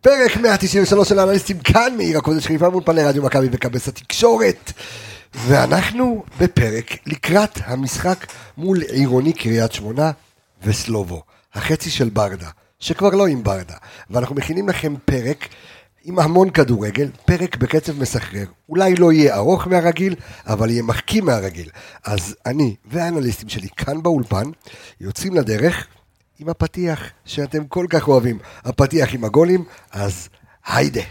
פרק 193 של האנליסטים כאן מעיר הקודש חיפה באולפני רדיו מכבי וכבש התקשורת. ואנחנו בפרק לקראת המשחק מול עירוני קריית שמונה וסלובו, החצי של ברדה, שכבר לא עם ברדה. ואנחנו מכינים לכם פרק עם המון כדורגל, פרק בקצב מסחרר. אולי לא יהיה ארוך מהרגיל, אבל יהיה מחכים מהרגיל. אז אני והאנליסטים שלי כאן באולפן יוצאים לדרך עם הפתיח שאתם כל כך אוהבים, הפתיח עם הגולים, אז היידה.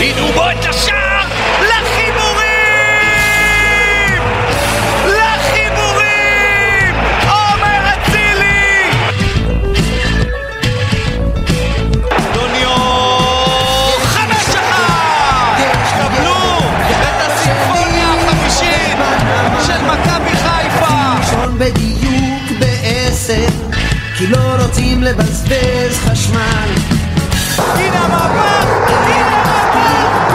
בדרובו את השער לחיבורים! לחיבורים! עומר אצילי! דוניו! חמש אחת! קבלו את הסימפוניה החמישית של מכבי חיפה! לישון בדיוק בעשר, כי לא רוצים לבזבז חשמל. הנה המהפך! הנה המהפך!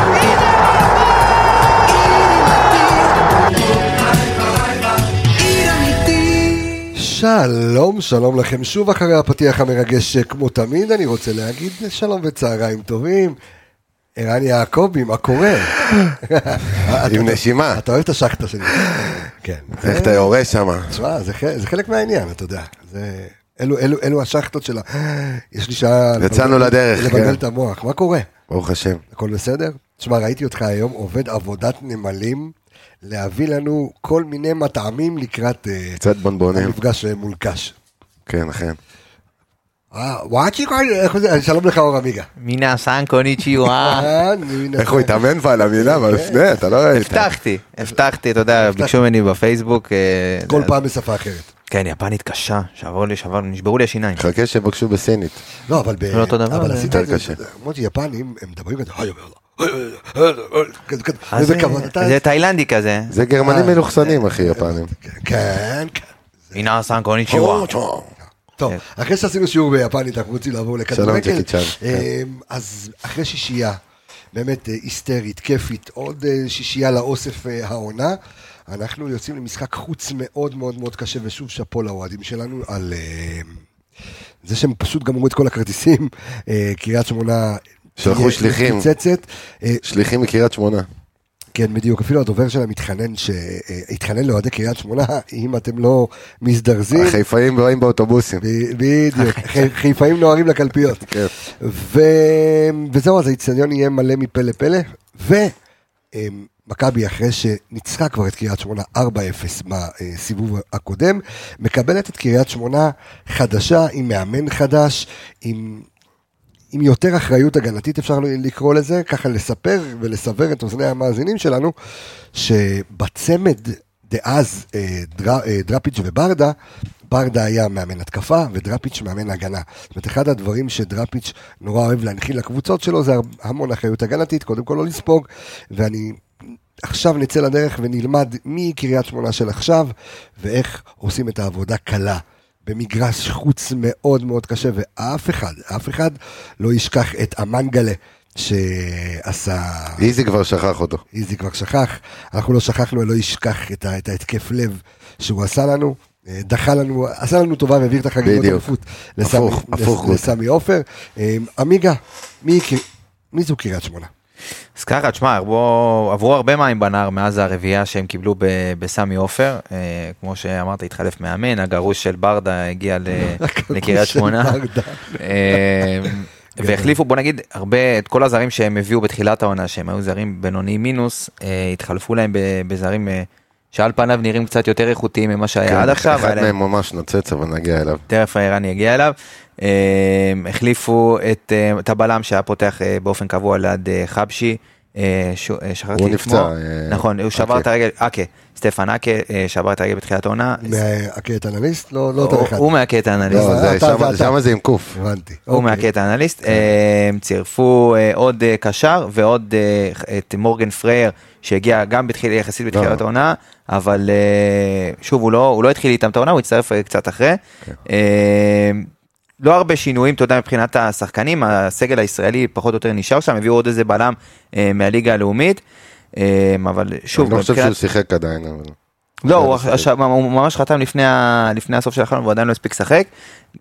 הנה עיר אמיתי. שלום, שלום לכם שוב אחרי הפתיח המרגש, שכמו תמיד אני רוצה להגיד שלום וצהריים טובים. ערן יעקבי, מה קורה? עם נשימה, אתה אוהב את השחטה שלי. כן. איך אתה יורה שם. תשמע, זה חלק- זה חלק מהעניין, אתה יודע. זה- אלו- אלו אלו השחטות של ה... יש לי שעה... יצאנו לבלבל- לדרך, לבלבל כן. את המוח, מה קורה? ברוך השם. הכל בסדר? תשמע, ראיתי אותך היום עובד עבודת נמלים, להביא לנו כל מיני מטעמים לקראת אה, קצת בונבונים. המפגש אה, מול קאש. כן, אכן. אה, וואצ'י, איך זה? שלום לך אור עמיגה. מינה סן קוניצ'יווה. אה, אני- איך הוא התאמן כבר על המילה, אבל לפני, אתה לא ראית. הבטחתי, הבטחתי, אתה יודע, ביקשו ממני בפייסבוק. אה, כל זה- פעם בשפה אחרת. כן, יפנית קשה, שעברו לי, שעברו, נשברו לי השיניים. חכה שיבקשו בסינית. לא, אבל ב... לא אותו דבר, אבל זה עשית יותר את זה, קשה. מוטי יפנים, הם מדברים כזה, היי, יאללה, היי, יאללה, היי, כזה, כזה, אז איזה זה- כבוד אתה... זה תאילנדי כזה. זה אה, גרמנים מלוכסנים, אחי, יפנים. כן, כן. מינה סן קוניצ'יווה. טוב, כן. אחרי שעשינו שיעור ביפנית, אנחנו רוצים לעבור לכדורגל. ג'קי צ'אן. כן. אמ, אז אחרי שישייה, באמת אה, היסטרית, כיפית, עוד אה, שישייה לאוסף אה, העונה, אנחנו יוצאים למשחק חוץ מאוד מאוד מאוד קשה, ושוב שאפו לאוהדים שלנו על אמ, זה שהם פשוט גמרו את כל הכרטיסים, אה, קריית שמונה... שלחו תהיה שליחים. מפוצצת. אה, שליחים מקריית שמונה. כן, בדיוק. אפילו הדובר שלה מתחנן, שהתחנן לאוהדי קריית שמונה, אם אתם לא מזדרזים. החיפאים באים באוטובוסים. ב- בדיוק, חי- חיפאים נוהרים לקלפיות. כן. ו... וזהו, אז האיצטדיון יהיה מלא מפה לפה, ומכבי אחרי שניצחה כבר את קריית שמונה 4-0 בסיבוב הקודם, מקבלת את קריית שמונה חדשה, עם מאמן חדש, עם... עם יותר אחריות הגנתית אפשר לקרוא לזה, ככה לספר ולסבר את אוזני המאזינים שלנו, שבצמד דאז אה, דר, אה, דראפיץ' וברדה, ברדה היה מאמן התקפה ודראפיץ' מאמן הגנה. זאת אומרת, אחד הדברים שדראפיץ' נורא אוהב להנחיל לקבוצות שלו זה הר- המון אחריות הגנתית, קודם כל לא לספוג, ואני עכשיו נצא לדרך ונלמד מקריית שמונה של עכשיו, ואיך עושים את העבודה קלה. במגרש חוץ מאוד מאוד קשה, ואף אחד, אף אחד לא ישכח את המנגלה שעשה... איזי כבר שכח אותו. אה, איזי כבר שכח, אנחנו לא שכחנו, אלוהי ישכח את, ה- את ההתקף לב שהוא עשה לנו, אה, דחה לנו, עשה לנו טובה והעביר את החגיגות בדיוק. אליפות לסמי- הפוך, הפוך, לס- גוט. לסמי עופר. אה, עמיגה, מי, קר- מי זו קריית שמונה? אז ככה, תשמע, עברו, עברו הרבה מים בנהר מאז הרביעייה שהם קיבלו ב, בסמי עופר. אה, כמו שאמרת, התחלף מאמן, הגרוש של ברדה הגיע ל, לקריית של שמונה. ברדה. אה, והחליפו, בוא נגיד, הרבה, את כל הזרים שהם הביאו בתחילת העונה, שהם היו זרים בינוני מינוס, אה, התחלפו להם ב, בזרים אה, שעל פניו נראים קצת יותר איכותיים ממה שהיה כן, עד עכשיו. אה. היה אחד להם- מהם ממש נוצץ, אבל נגיע אליו. תכף הערן יגיע אליו. אה, החליפו את, אה, את הבלם שהיה פותח אה, באופן קבוע ליד אה, חבשי. אה, ש- אה, שכחתי הוא את נפצע, שמו. אה, נכון, הוא שבר אקה. את הרגל, אקה, סטפן אקה, אה, שבר את הרגל בתחילת העונה. מהקטע אנליסט? לא, לא הוא- אותו אחד. הוא מהקטע האנליסט. לא, זה- אתה, שם- אתה. שם זה עם קוף. הבנתי. הוא אוקיי. מהקטע כן. האנליסט, אה, צירפו אה, עוד אה, קשר ועוד אה, את מורגן פרייר שהגיע גם בתחיל, יחסית בתחילת לא. העונה, אבל אה, שוב הוא לא, הוא לא התחיל איתם את העונה, הוא הצטרף אה, קצת אחרי. כן. אה, לא הרבה שינויים, אתה יודע, מבחינת השחקנים, הסגל הישראלי פחות או יותר נשאר שם, הביאו עוד איזה בלם אה, מהליגה הלאומית, אה, אבל שוב, אני לא חושב מבחינת- שהוא שיחק עדיין. אבל- לא, הוא עכשיו- הוא ממש חתם לפני ה- לפני הסוף של החלום והוא עדיין לא הספיק לשחק.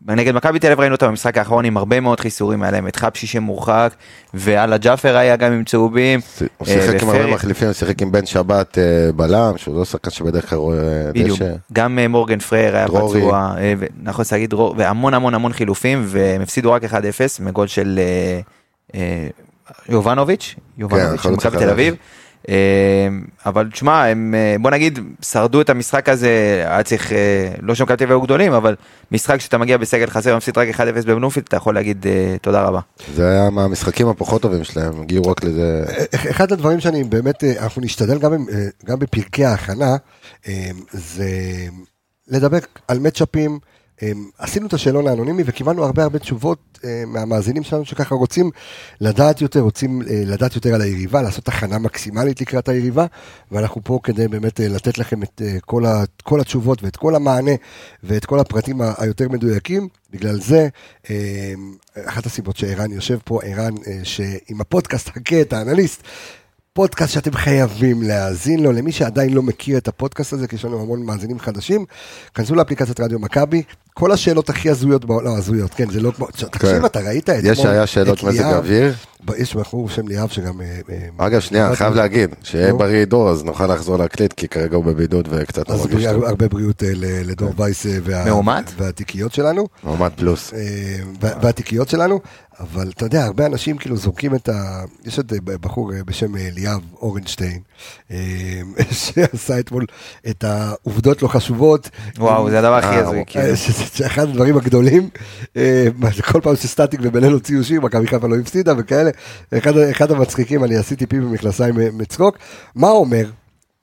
נגד מכבי תל אביב ראינו אותו במשחק האחרון עם הרבה מאוד חיסורים, היה להם את חבשי שמורחק, ועלה ג'אפר היה גם עם צהובים. הוא אה, שיחק עם הרבה ופרי. מחליפים, הוא שיחק עם בן שבת אה, בלם, שהוא לא שחקן שבדרך כלל רואה בדיוק, דשא. גם אה, מורגן פרייר היה דרורי. פצוע, אה, ו- נכון, צריך להגיד, דרור- והמון המון המון חילופים, והם הפסידו רק 1-0 מגול של אה, אה, יובנוביץ', יובנוביץ' של החלוץ מכבי תל החדש. אביב. אה, אבל תשמע, הם, אה, בוא נגיד, שרדו את המשחק הזה, היה צריך, אה, לא שמכבי תל אביב היו גדולים, אבל משחק שאתה מגיע בסגל חסר ומפסיד רק 1-0 בבלומפילד, אתה יכול להגיד אה, תודה רבה. זה היה מהמשחקים הפחות טובים שלהם, הם הגיעו רק לזה. אח- אה, אחד הדברים שאני באמת, אה, אנחנו נשתדל גם, עם, אה, גם בפרקי ההכנה, אה, זה לדבר על מצ'אפים. אה, עשינו את השאלון האנונימי וקיבלנו הרבה הרבה תשובות אה, מהמאזינים שלנו שככה רוצים לדעת יותר, רוצים אה, לדעת יותר על היריבה, לעשות הכנה מקסימלית לקראת היריבה, ואנחנו פה כדי באמת אה, לתת לכם את אה, כל, ה, כל התשובות ואת כל המענה ואת כל הפרטים ה- היותר מדויקים. בגלל זה, אה, אחת הסיבות שערן יושב פה, ערן, אה, שעם הפודקאסט, חכה את האנליסט, פודקאסט שאתם חייבים להאזין לו, למי שעדיין לא מכיר את הפודקאסט הזה, כי יש לנו המון מאזינים חדשים, כנסו לאפליקציית רדיו מכבי, כל השאלות הכי הזויות בעולם, לא הזויות, כן, זה לא כמו, תקשיב, אתה ראית את יש היה שאלות את מזג ליאב? האוויר. ב- יש בחור בשם ליאב שגם... אה, אה, אגב, שנייה, אני חייב להגיד, שיהיה נו. בריא דור, אז נוכל לחזור להקליט, כי כרגע הוא בבידוד וקצת לא אז מרגיש בריאה- טוב. הרבה בריאות אה, ל- לדור כן. וייס אה, וה- מאומת? והתיקיות שלנו. מעמד פלוס. אה, וה- והתיקיות שלנו, אבל אתה יודע, הרבה אנשים כאילו זורקים את ה... יש את אה, בחור אה, בשם אה, ליאב אורנשטיין, אה, שעשה אתמול את העובדות לא חשובות. וואו, זה הדבר הכי אה, הזוי. הוא- כאילו. אה, שזה שזה אחד הדברים הגדולים, אה, מה, כל פעם שסטטיק ובן-אל הוציאו שיר, מכבי חיפה לא הפסידה וכאלה, אחד, ה- אחד המצחיקים, אני עשיתי פי במכנסיים אה, מצחוק, מה אומר,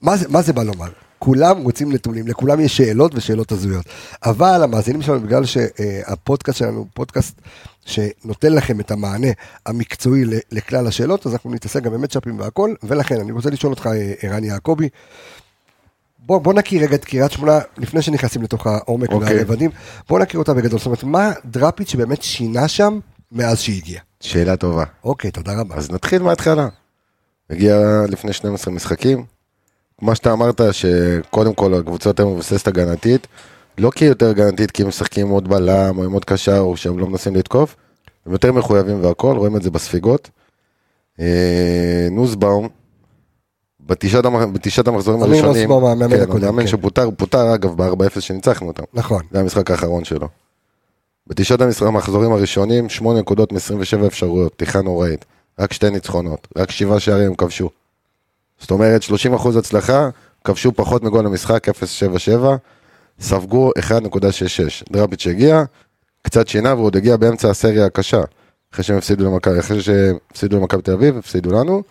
מה זה, מה זה בא לומר? כולם רוצים נתונים, לכולם יש שאלות ושאלות הזויות, אבל המאזינים שלנו, בגלל שהפודקאסט שלנו הוא פודקאסט שנותן לכם את המענה המקצועי ל- לכלל השאלות, אז אנחנו נתעסק גם במצ'אפים והכל, ולכן אני רוצה לשאול אותך, אה, ערן יעקבי, בוא, בוא נכיר רגע את קריית שמונה, לפני שנכנסים לתוך העומק okay. אוקיי. והרבדים, בוא נכיר אותה בגדול. זאת אומרת, מה דראפיץ' באמת שינה שם מאז שהגיע? שאלה טובה. אוקיי, תודה רבה. אז נתחיל מההתחלה. הגיע לפני 12 משחקים. מה שאתה אמרת, שקודם כל הקבוצה יותר מבוססת הגנתית, לא כי היא יותר הגנתית, כי הם משחקים עם עוד בלם או עם עוד קשר, או שהם לא מנסים לתקוף, הם יותר מחויבים והכל, רואים את זה בספיגות. אה, נוסבאום, בתשעת המח- בתשעת המחזורים אמיר הראשונים, נוסבאום, המאמן כן, הקודם, המאמן כן. שפוטר, הוא פוטר אגב ב-4-0 שניצחנו אותם. נכון. זה המשחק האחרון שלו. בתשעת המשחק- המחזורים הראשונים, 8 נקודות מ-27 אפשרויות, פתיחה נוראית. רק שתי ניצחונות, רק שבעה שערים הם כבשו. זאת אומרת, 30% הצלחה, כבשו פחות מגול למשחק, 0.77, ספגו 1.66. דראפיץ' הגיע, קצת שינה, והוא עוד הגיע באמצע הסריה הקשה. אחרי שהם הפסידו למכבי- אחרי שהם הפסידו למכבי תל אביב, הפסידו לנו.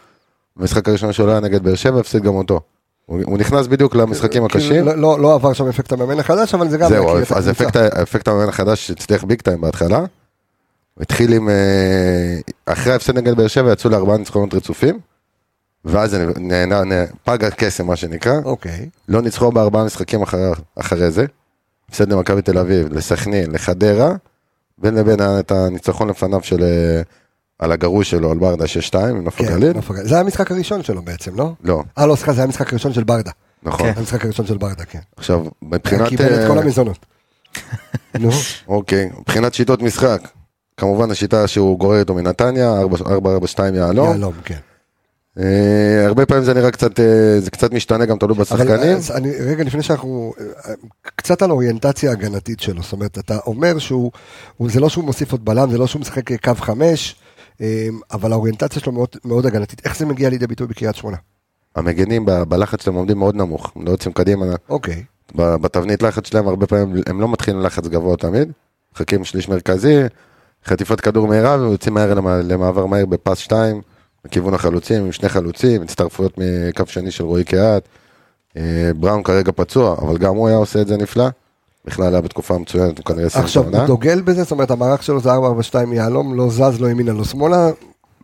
המשחק הראשון שלו היה נגד באר שבע, הפסיד גם אותו. הוא הוא נכנס בדיוק למשחקים כאילו, הקשים. לא, לא, לא עבר שם אפקט המאמן החדש, אבל זה גם... זהו, להכיר אז- את אז הקבוצה. אפקט ה- אפקט המאמן החדש הצליח ביג טיים בהתחלה. הוא התחיל עם... אה, אחרי ההפסד נגד באר שבע יצאו לארבעה ניצחונות רצופים. ואז נ- נהנה, נה- פג הקסם מה שנקרא, אוקיי. לא ניצחו בארבעה משחקים אחרי, אחרי זה. הפסד למכבי תל אביב, לסכנין, לחדרה, בין לבין היה את הניצחון לפניו של... אה, על הגרוש שלו, על ברדה 6-2, עם נוף כן, הגליל. נוף הגליל. זה היה המשחק הראשון שלו בעצם, לא? לא, אה, לא, סליחה, זה היה המשחק הראשון של ברדה. נכון. המשחק הראשון של ברדה, כן. עכשיו, הוא מבחינת... קיבל את אה, כל המזונות. נו, אוקיי, מבחינת שיטות משחק, כמובן השיטה שהוא גורר איתו מנתניה, 4-4-2 יהלום. יהלום, כן. אה, הרבה פעמים זה נראה קצת, אה, זה קצת משתנה, גם תלוי אבל בשחקנים. אז אני, רגע לפני שאנחנו, אה, קצת על האוריינטציה ההגנתית שלו, זאת אומרת, אתה אומר שהוא, הוא- זה לא שהוא מוסיף עוד בלם, זה לא שהוא משחק קו חמש, אה, אבל האוריינטציה שלו מאוד, מאוד הגנתית. איך זה מגיע לידי ביטוי בקריית שמונה? המגנים ב- בלחץ שלהם עומדים מאוד נמוך, הם לא יוצאים קדימה. אוקיי, ב- בתבנית לחץ שלהם הרבה פעמים הם לא מתחילים לחץ גבוה תמיד, מחכים שליש מרכזי, חטיפת כדור מהירה ויוצאים מהר למע- למעבר מהיר בפס 2, בכיוון החלוצים, עם שני חלוצים, הצטרפויות מקו שני של רועי קהת. אה, בראון כרגע פצוע, אבל גם הוא היה עושה את זה נפלא. בכלל היה בתקופה מצוינת, הוא כנראה סיים את עכשיו הוא העונה. דוגל בזה, זאת אומרת, המערך שלו זה 4-4-2 יהלום, לא זז, לא ימינה, לא שמאלה,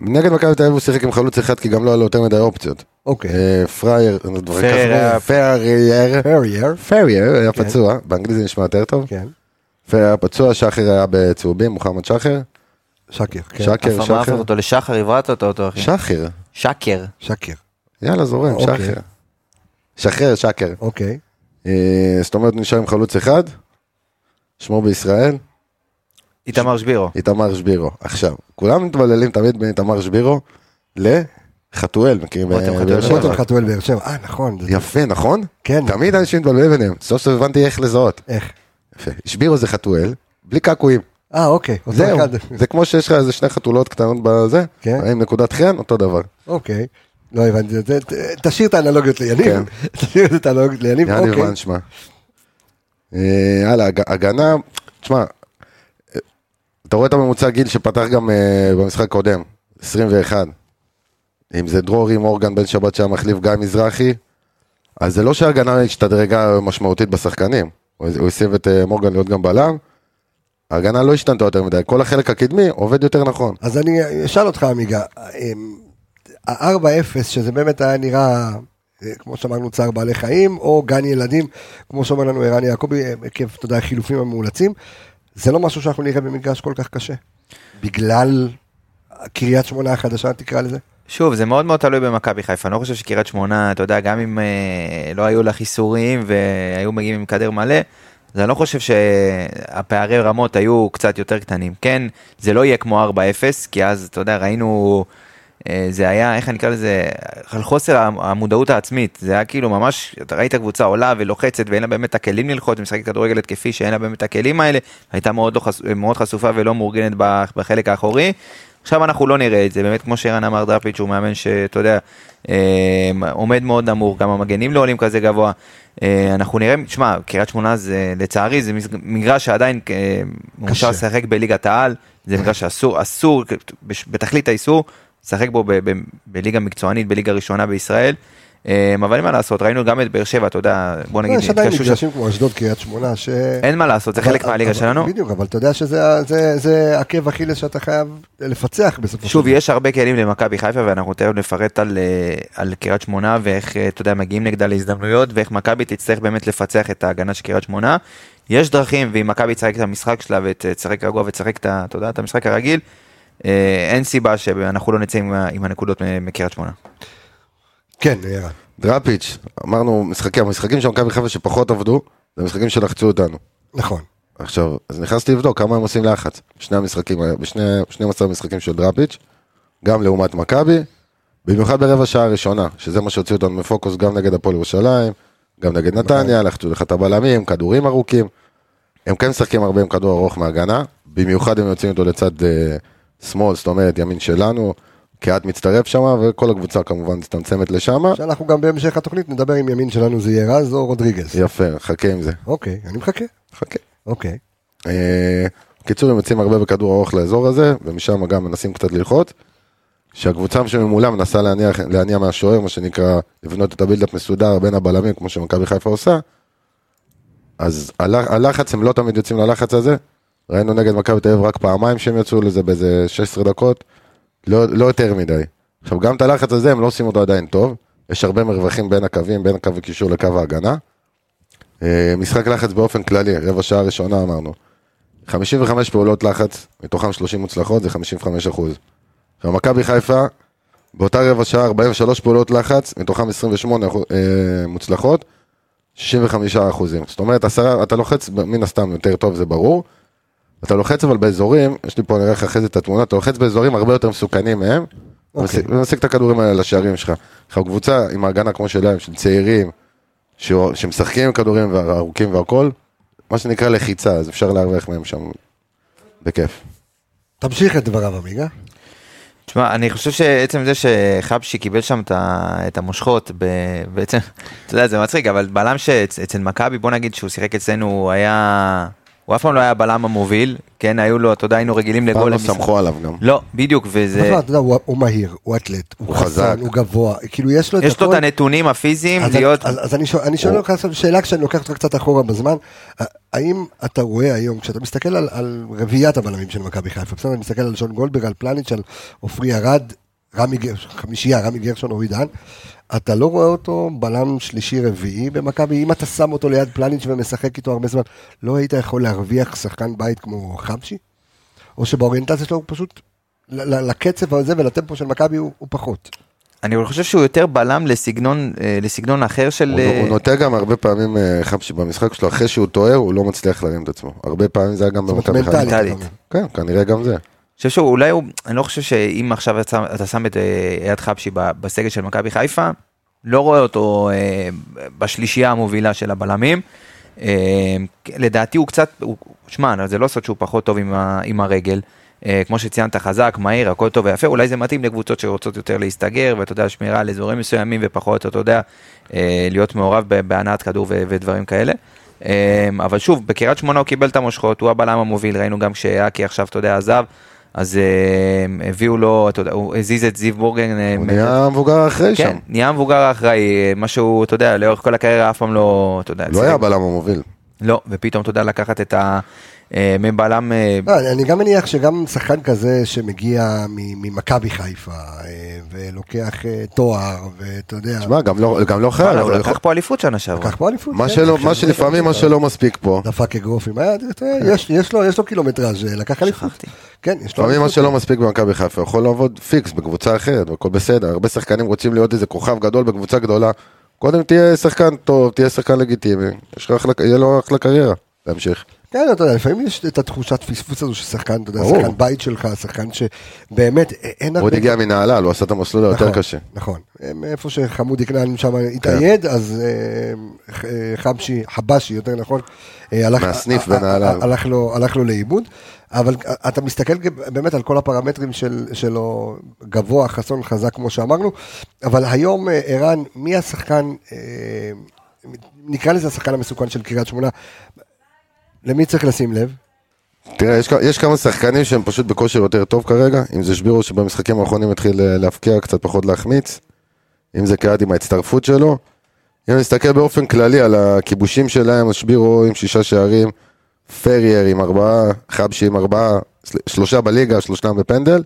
נגד מכבי תל אביב הוא שיחק עם חלוץ אחד, כי גם לא היה לו יותר מדי אופציות. אוקיי. אה, פרייר, פרייר. פרייר, פרייר, פרייר היה פצוע, באנגלית זה נשמע יותר טוב. כן, פרייר היה פצוע, שחר היה בצהובים, מוחמד שחר. שקר, כן, שקר, אף פעם לא הפך שחר. אותו לשחר, הבראת אותו, אותו אחי. שחר, שקר. שקר, יאללה זורם, אוקיי. שחר. שחרר, שקר. אוקיי, אה, זאת אומרת, נשאר עם חלוץ אחד, שמו בישראל, איתמר שבירו. איתמר שבירו. עכשיו, כולם מתבללים תמיד בין איתמר שבירו לחתואל, מכירים? רותם ב- חתואל. באר שבע? רותם רותם חתואל באר שבע, אה נכון, זה- יפה, נכון? כן. תמיד אנשים מתבלבלים ביניהם. סוף סוף הבנתי איך לזהות. איך? יפה. שבירו זה חתואל, בלי קעקועים. אה אוקיי, אותו זהו. אחד, זה כמו שיש לך איזה שני חתולות קטנות בזה, כן. עם נקודת חן, אותו דבר. אוקיי, לא הבנתי את זה, ת- תשאיר את האנלוגיות ליניב, כן. תשאיר את האנלוגיות ליניב, יעני אוקיי, ון שמע. אה, הלאה, הג- הגנה, תשמע, אה, אתה רואה את הממוצע גיל שפתח גם אה, במשחק קודם, 21. אם זה דרורי מורגן בן שבת שהיה מחליף גיא מזרחי, אז זה לא שההגנה השתדרגה משמעותית בשחקנים. הוא הוא הסב את אה, מורגן להיות גם בלם. ההגנה לא השתנתה יותר מדי, כל החלק הקדמי עובד יותר נכון. אז אני אשאל אותך עמיגה, אמ, ה-4-0 שזה באמת היה נראה, אה, כמו שאמרנו צער בעלי חיים, או גן ילדים, כמו שאומר לנו ערן יעקבי, אה, עקב, אתה יודע, החילופים המאולצים, זה לא משהו שאנחנו נראה במגרש כל כך קשה, בגלל קריית שמונה החדשה תקרא לזה, שוב, זה מאוד מאוד תלוי במכבי חיפה. אני לא חושב שקריית שמונה, אתה יודע, גם אם אה, לא היו לה חיסורים והיו מגיעים עם קדר מלא, אז אני לא חושב שהפערי רמות היו קצת יותר קטנים. כן, זה לא יהיה כמו 4-0, כי אז, אתה יודע, ראינו, אה, זה היה, איך אני אקרא לזה, על חוסר המודעות העצמית. זה היה כאילו ממש, אתה ראית קבוצה עולה ולוחצת ואין לה באמת את הכלים ללחוץ, משחקת כדורגל התקפי שאין לה באמת את הכלים האלה, הייתה מאוד, לא חס... מאוד חשופה ולא מאורגנת ב- בחלק האחורי. עכשיו אנחנו לא נראה את זה, באמת כמו שערן אמר דראפיץ' הוא מאמן שאתה יודע, אה, עומד מאוד נמוך, גם המגנים לא עולים כזה גבוה. אה, אנחנו נראה, שמע, קריית שמונה זה לצערי זה מז- מגרש שעדיין אה, הוא קשה. מותר לשחק בליגת העל, זה מגרש שאסור, אסור, בש- בתכלית האיסור, לשחק בו ב- ב- בליגה מקצוענית, בליגה ראשונה בישראל. אה, אבל אין מה לעשות, ראינו גם את באר שבע, אתה יודע, בוא נגיד, אה, יש עדיין התקשו- מגרשים כמו אשדוד קריית שמונה, ש... אין מה לעשות, זה אבל- חלק מהליגה אבל- שלנו. בדיוק, אבל אתה יודע שזה ה- זה- זה עקב אכילס שאתה חייב לפצח בסופו של שוב, דבר. יש הרבה כלים למכבי חיפה, ואנחנו תכף נפרט על, אה, על קריית שמונה, ואיך, אה, אתה יודע, מגיעים נגדה להזדמנויות, ואיך מכבי תצטרך באמת לפצח את ההגנה של קריית שמונה. יש דרכים, ואם מכבי תשחק את המשחק שלה ותשחק רגוע ותשחק את, ה- אתה יודע, את המשחק הרגיל, אה, אין סיבה שאנחנו לא נצא עם, ה- עם הנקודות מ- מקריית שמונה. כן, יאללה. דראפיץ', אמרנו, משחקים, המשחקים של מכבי חיפה שפחות עבדו, זה משחקים שלחצו אותנו. נכון. עכשיו, אז נכנסתי לבדוק כמה הם עושים לחץ. שני המשחקים, האלה, בשני, 12 המשחקים של דראפיץ', גם לעומת מכבי, במיוחד ברבע שעה הראשונה, שזה מה שהוציא אותנו מפוקוס גם נגד הפועל ירושלים, גם נגד נתניה, לחצו לך את הבלמים, כדורים ארוכים. הם כן משחקים הרבה עם כדור ארוך מהגנה, במיוחד אם יוצאים איתו לצד אה, שמאל, זאת אומרת ימין שלנו, קהת מצטרף שם, וכל הקבוצה כמובן מצטמצמת לשם. שאנחנו גם בהמשך התוכנית נדבר עם ימין שלנו זה יהיה רז או רודריגז. יפה, חכה עם זה. אוקיי, אני מחכה. חכה. אוקיי. אה, בקיצור, הם יוצאים הרבה בכדור ארוך לאזור הזה, ומשם גם מנסים קצת ללחוץ. שהקבוצה שממולה מנסה להניע, להניע מהשוער, מה שנקרא, לבנות את הבילדאפ מסודר בין הבלמים, כמו שמכבי חיפה עושה. אז הלח- הלחץ, הם לא תמיד יוצאים ללחץ הזה. ראינו נגד מכבי תל אביב רק פעמיים שהם יצאו לזה באיזה 16 דקות, לא, לא יותר מדי. עכשיו, גם את הלחץ הזה, הם לא עושים אותו עדיין טוב. יש הרבה מרווחים בין הקווים, בין קו הקישור לקו ההגנה. אה, משחק לחץ באופן כללי, רבע שעה ראשונה אמרנו. 55 פעולות לחץ, מתוכם 30 מוצלחות, זה 55 אחוז. עכשיו, מכבי חיפה, באותה רבע שעה 43 פעולות לחץ, מתוכם 28 אחוז, אה, מוצלחות, 65 אחוזים. זאת אומרת, עשרה, אתה לוחץ ב- מן הסתם יותר טוב, זה ברור. אתה לוחץ אבל באזורים, יש לי פה, נראה לך אחרי זה את התמונה, אתה לוחץ באזורים הרבה יותר מסוכנים מהם, אוקיי. ומשיג- ומשיג את הכדורים האלה לשערים שלך. עכשיו, קבוצה עם הגנה כמו שלהם, של צעירים, ש- שמשחקים עם כדורים וה- ארוכים והכל, מה שנקרא לחיצה, אז אפשר להרוויח מהם שם בכיף. תמשיך את דבריו עמיגה. תשמע, אני חושב שעצם זה שחבשי קיבל שם את ה- את המושכות, ב- בעצם, אתה יודע, זה מצחיק, אבל בלם שאצל מכבי, בוא נגיד שהוא שיחק אצלנו, הוא היה, הוא אף פעם לא היה הבלם המוביל, כן, היו לו, אתה יודע, היינו רגילים פעם לגול. לא למשחק. סמכו עליו גם. לא, בדיוק, וזה, בכלל, אתה יודע, הוא- הוא מהיר, הוא אתלט, הוא הוא חזק. חזק, הוא גבוה, כאילו יש לו את יש לו את הכל. הנתונים הפיזיים אז- להיות, אז- אז אני שואל- אני שואל הוא- אותך עכשיו שאלה כשאני לוקח אותך קצת אחורה בזמן, ה- האם אתה רואה היום, כשאתה מסתכל על- על רביעיית הבלמים של מכבי חיפה, בסדר, אני מסתכל על שון גולדברג, על פלניץ', על עופרי ארד, רמי גרשון, חמישייה, רמי גרשון, אורי דהן, אתה לא רואה אותו בלם שלישי רביעי במכבי, אם אתה שם אותו ליד פלניץ' ומשחק איתו הרבה זמן, לא היית יכול להרוויח שחקן בית כמו חבשי? או שבאוריינטציה שלו הוא פשוט, ל- ל- לקצב הזה ולטמפו של מכבי הוא הוא פחות. אני חושב שהוא יותר בלם לסגנון, אה, לסגנון אחר של... הוא לא- הוא אה, נוטה גם הרבה פעמים, אה, חבשי, במשחק שלו, אחרי שהוא טועה, הוא לא מצליח להרים את עצמו. הרבה פעמים זה היה גם זאת אומרת, במכבי חיפה. מנטלית. מנטלית. אתה אומר. כן, כנראה גם זה. חושב שהוא אולי הוא, אני לא חושב שאם עכשיו אתה שם- אתה שם את אה, אייד חבשי ב- בסגל של מכבי חיפה, לא רואה אותו אה, בשלישייה המובילה של הבלמים. אה, לדעתי הוא קצת, הוא- שמע, זה לא סוד שהוא פחות טוב עם, ה, עם הרגל. אה, כמו שציינת, חזק, מהיר, הכל טוב ויפה, אולי זה מתאים לקבוצות שרוצות יותר להסתגר, ואתה יודע, שמירה על אזורים מסוימים ופחות, אתה יודע, אה, להיות מעורב ב- בהנעת כדור ו- ודברים כאלה. אה, אבל שוב, בקריית שמונה הוא קיבל את המושכות, הוא הבלם המוביל, ראינו גם כשאקי עכשיו, אתה יודע, עזב, אז אה, הביאו לו, אתה יודע, הוא הזיז את זיו בורגן. אה, הוא מ- נהיה מבוגר אחרי כן, שם. נהיה המבוגר האחראי, אה, מה שהוא, אתה יודע, לאורך כל הקריירה אף פעם לא, אתה יודע, לא שיחק- היה בלם המוביל. לא, ופתאום, אתה יודע, לקחת את ה... אה, מבלם... אה, אה, אני גם מניח שגם שחקן כזה שמגיע מ- ממכבי חיפה אה, ולוקח אה, תואר ואתה יודע, תשמע, גם לא- גם לא חייב. וואלה, הוא אבל יכול- לקח פה אליפות שנה שעברה. לקח פה אליפות. מה כן, שלא, עכשיו מה זה שלפעמים, זה. מה שלא מספיק פה, דפק אגרוף עם היד, אה, יש- יש לו- יש לו קילומטראז' אה, לקח אליפות. שכחתי. כן, יש לו לפעמים מה אליפות. שלא מספיק במכבי חיפה, יכול לעבוד פיקס בקבוצה אחרת, והכל בסדר. הרבה שחקנים רוצים להיות איזה כוכב גדול בקבוצה גדולה. קודם תהיה שחקן טוב, תהיה שחקן לגיטימי, יש לך אחלה, יהיה לו אחלה קריירה. להמשיך. כן, אתה יודע, לפעמים יש את התחושת פספוס הזו ששחקן, אתה יודע, ברור. שחקן בית שלך, שחקן שבאמת אה, אין הוא עוד הגיע מנהלל, הוא עשה את המסלול היותר נכון, לא, קשה. כן. נכון. הם- איפה שחמודי כנען שם התאייד, אז אה, ח- אה, חבשי, חבשי, יותר נכון, אה, הלך- מהסניף ה- ה- בנהלל. ה- הלך לו- הלך לו לאיבוד. אבל אה, אתה מסתכל גם באמת על כל הפרמטרים של- שלו, גבוה, חסון, חזק, כמו שאמרנו, אבל היום, אה, ערן, מי השחקן, אה, נקרא לזה השחקן המסוכן של קריית שמונה, למי צריך לשים לב? תראה, יש, כ- יש כמה שחקנים שהם פשוט בכושר יותר טוב כרגע, אם זה שבירו שבמשחקים האחרונים התחיל אה, להבקיע, קצת פחות להחמיץ, אם זה קהד עם ההצטרפות שלו. אם אני מסתכל באופן כללי על הכיבושים שלהם, אז שבירו עם שישה שערים, פרייר עם ארבעה, חבשי עם ארבעה, של- שלושה בליגה, שלושתם בפנדל.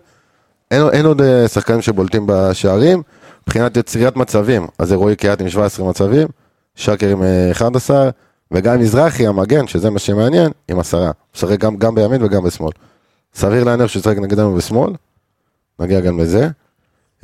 אין, אין עוד אה, שחקנים שבולטים בשערים, מבחינת יצירת מצבים, אז זה רועי קהת עם 17 מצבים, שקר עם אה, 11, וגיא מזרחי המגן, שזה מה שמעניין, עם עשרה. משחק גם, גם בימין וגם בשמאל. סביר להניח שהוא ישחק נגדנו בשמאל, נגיע גם לזה.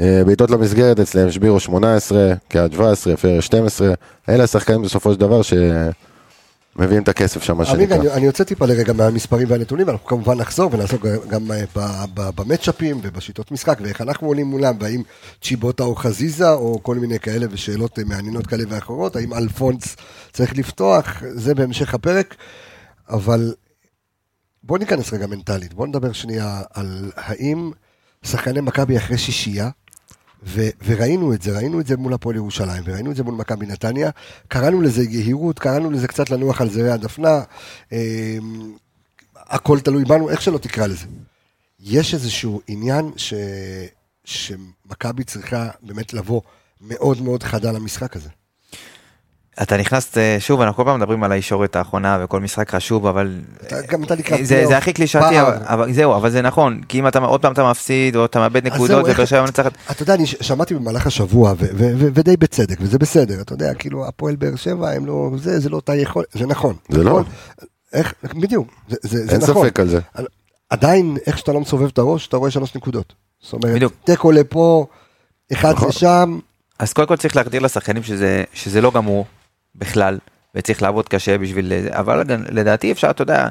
אה, בעיטות למסגרת אצלם שבירו 18, קהת 17, פרר 12, אלה השחקנים בסופו של דבר שמביאים את הכסף שם, מה אמיר, שנקרא. אני, אני יוצא טיפה לרגע מהמספרים והנתונים, ואנחנו כמובן נחזור ונעסוק גם אה, ב- ב- במצ'אפים ובשיטות משחק, ואיך אנחנו עולים מולם, והאם צ'יבוטה או חזיזה, או כל מיני כאלה, ושאלות אה, מעניינות כאלה ואחרות, האם אלפונס צריך לפתוח, זה בהמשך הפרק, אבל בוא ניכנס רגע מנטלית, בוא נדבר שנייה על האם שחקני מכבי אחרי שישייה, ו- וראינו את זה, ראינו את זה מול הפועל ירושלים, וראינו את זה מול מכבי נתניה, קראנו לזה יהירות, קראנו לזה קצת לנוח על זרי הדפנה, אה, הכל תלוי בנו, איך שלא תקרא לזה. יש איזשהו עניין ש... שמכבי צריכה באמת לבוא מאוד מאוד חדה למשחק הזה. אתה נכנס, אה, שוב, אנחנו כל פעם מדברים על הישורת האחרונה וכל משחק חשוב, אבל... אה, אתה- גם אתה לקראת זה- פלייאוף, זה הכי קלישאתי, פער. אבל- אבל זהו, אבל זה נכון, כי אם אתה עוד פעם אתה מפסיד, או אתה מאבד אז זהו, נקודות, איך- ובאר שבע מנצחת, אתה יודע, אני ש- שמעתי במהלך השבוע, ו- ו- ו- ודי בצדק, וזה בסדר, אתה יודע, כאילו, הפועל באר שבע, הם לא, זה, זה לא אותה יכולת, זה נכון. זה לא. הכל- איך, בדיוק, זה, זה, זה אין נכון. ספק על זה. עדיין, איך שאתה לא מסובב את הראש, אתה רואה שלוש נקודות. זאת אומרת, בדיוק. תיקו לפה, אחד נכון. לשם, אז קודם כל צריך להגדיר לשחקנים שזה, שזה לא גמור בכלל, וצריך לעבוד קשה בשביל זה, אבל גם לדעתי אפשר, אתה יודע,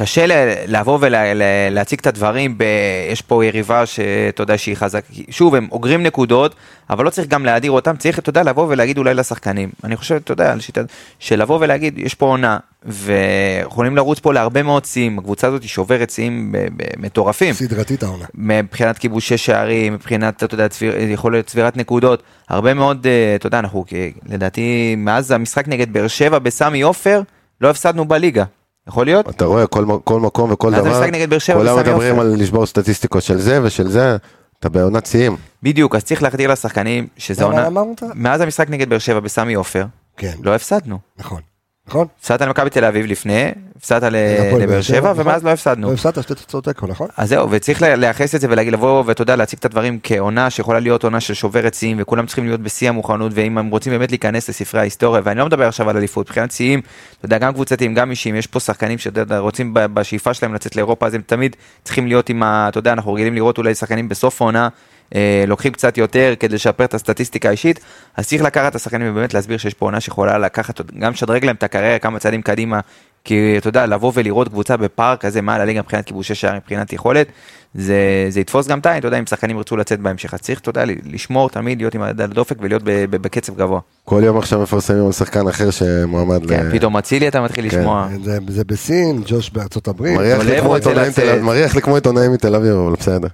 קשה ל- לבוא ולהציג את הדברים, ב, יש פה יריבה שאתה יודע שהיא חזקה, שוב, הם אוגרים נקודות, אבל לא צריך גם להדיר אותם, צריך, אתה יודע, לבוא ולהגיד אולי לשחקנים. אני חושב, אתה יודע, על שיטה, שלבוא ולהגיד, יש פה עונה, ויכולים לרוץ פה להרבה מאוד שיאים, הקבוצה הזאת היא שוברת שיאים ב- ב- מטורפים. סדרתית העונה. מבחינת כיבושי שערים, מבחינת, אתה יודע, צביר, יכולת צבירת נקודות, הרבה מאוד, אה, אתה יודע, אנחנו, אה, לדעתי, מאז המשחק נגד באר שבע בסמי עופר, לא הפסדנו בליגה. יכול להיות? אתה רואה כל, מ- כל מקום וכל אז דבר, המשחק נגד באר שבע כולם בסמי מדברים עופר. על לשבור סטטיסטיקות של זה ושל זה, אתה בעונת שיאים. בדיוק, אז צריך להחדיר לשחקנים שזה למה עונה... אמרת? מאז המשחק נגד באר שבע בסמי עופר, כן, לא הפסדנו. נכון. נכון? הפסדת למכבי תל אביב לפני, הפסדת ל- הפועל אה, לבאר שבע, נכון? ומאז לא הפסדנו. לא הפסדת שתי תוצאות תיקו, נכון? אז זהו, וצריך ל- לייחס את זה ולהגיד, לבוא ואתה יודע, להציג את הדברים כעונה שיכולה להיות עונה של שוברת שיאים, וכולם צריכים להיות בשיא המוכנות, ואם הם רוצים באמת להיכנס לספרי ההיסטוריה, ואני לא מדבר עכשיו על אליפות, מבחינת שיאים, אתה יודע, גם קבוצתיים, גם אישיים, יש פה שחקנים שאתה יודע, רוצים ב- בשאיפה שלהם לצאת לאירופה, אז הם תמיד צריכים להיות עם ה... אתה יודע, אנחנו רגילים לראות אולי שחקנים בסוף העונה. אה, לוקחים קצת יותר כדי לשפר את הסטטיסטיקה האישית, אז צריך לקחת את השחקנים ובאמת להסביר שיש פה עונה שיכולה לקחת, גם לשדרג להם את הקריירה כמה צעדים קדימה, כי אתה יודע, לבוא ולראות קבוצה בפער כזה מעל הליגה מבחינת כיבושי שערים, מבחינת יכולת, זה, זה יתפוס גם את העין, אתה יודע, אם שחקנים ירצו לצאת בהמשך, אז צריך, אתה יודע, לשמור תמיד, להיות עם היד על הדופק ולהיות ב- ב- בקצב גבוה. כל יום עכשיו מפרסמים על שחקן אחר שמועמד ל... כן, פתאום אצילי אתה מתחיל כן. לשמוע. אה, זה, זה בסין, ג'וש בארצות הברית. מריח אה. אבל לי הם כמו רוצים עיתונאים לצאת. תל- מריח לי כמו עיתונאים מתל אביב, אבל בסדר.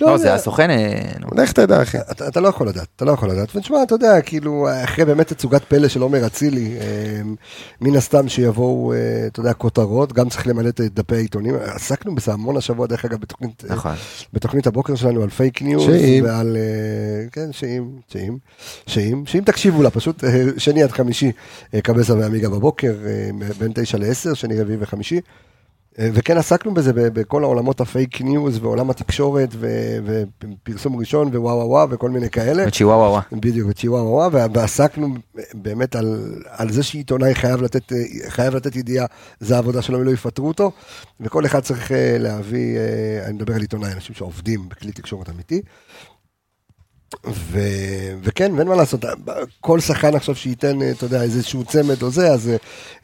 לא, יודע. זה הסוכן, אה, נו. לך תדע, אחי. אתה, אתה לא יכול לדעת, אתה לא יכול לדעת. ותשמע, אתה יודע, כאילו, אחרי באמת תצוגת פלא של עומר אצילי, אה, מן הסתם שיבואו, אה, אתה יודע, כותרות, גם צריך למלא את דפי העיתונים. עסקנו בזה המון השבוע, דרך אגב, בתוכנית, אה, נכון. בתוכנית הבוקר שלנו על פייק ניוז, שאם. ועל, אה, כן, שאם, שאם, שאם, שאם תקשיבו לה, פשוט אה, שני עד חמישי, אה, קבסה ועמיגה בבוקר, אה, בין תשע לעשר, שני רביעי וחמישי. אה, וכן עסקנו בזה ב- בכל העולמות הפייק ניוז ועולם התקשורת ו- ופרסום ראשון ווואו וואו וואו וכל מיני כאלה. צ'יוואווה. וואו. בדיוק, צ'יוואו וואו, וה- ועסקנו באמת על, על זה שעיתונאי חייב לתת, אה, חייב לתת ידיעה, זה העבודה שלו, אם לא יפטרו אותו, וכל אחד צריך אה, להביא, אה, אני מדבר על עיתונאי, אנשים שעובדים בכלי תקשורת אמיתי, ו, וכן, ואין מה לעשות, כל שחקן עכשיו שייתן, אה, אתה יודע, איזשהו צמד או זה, אז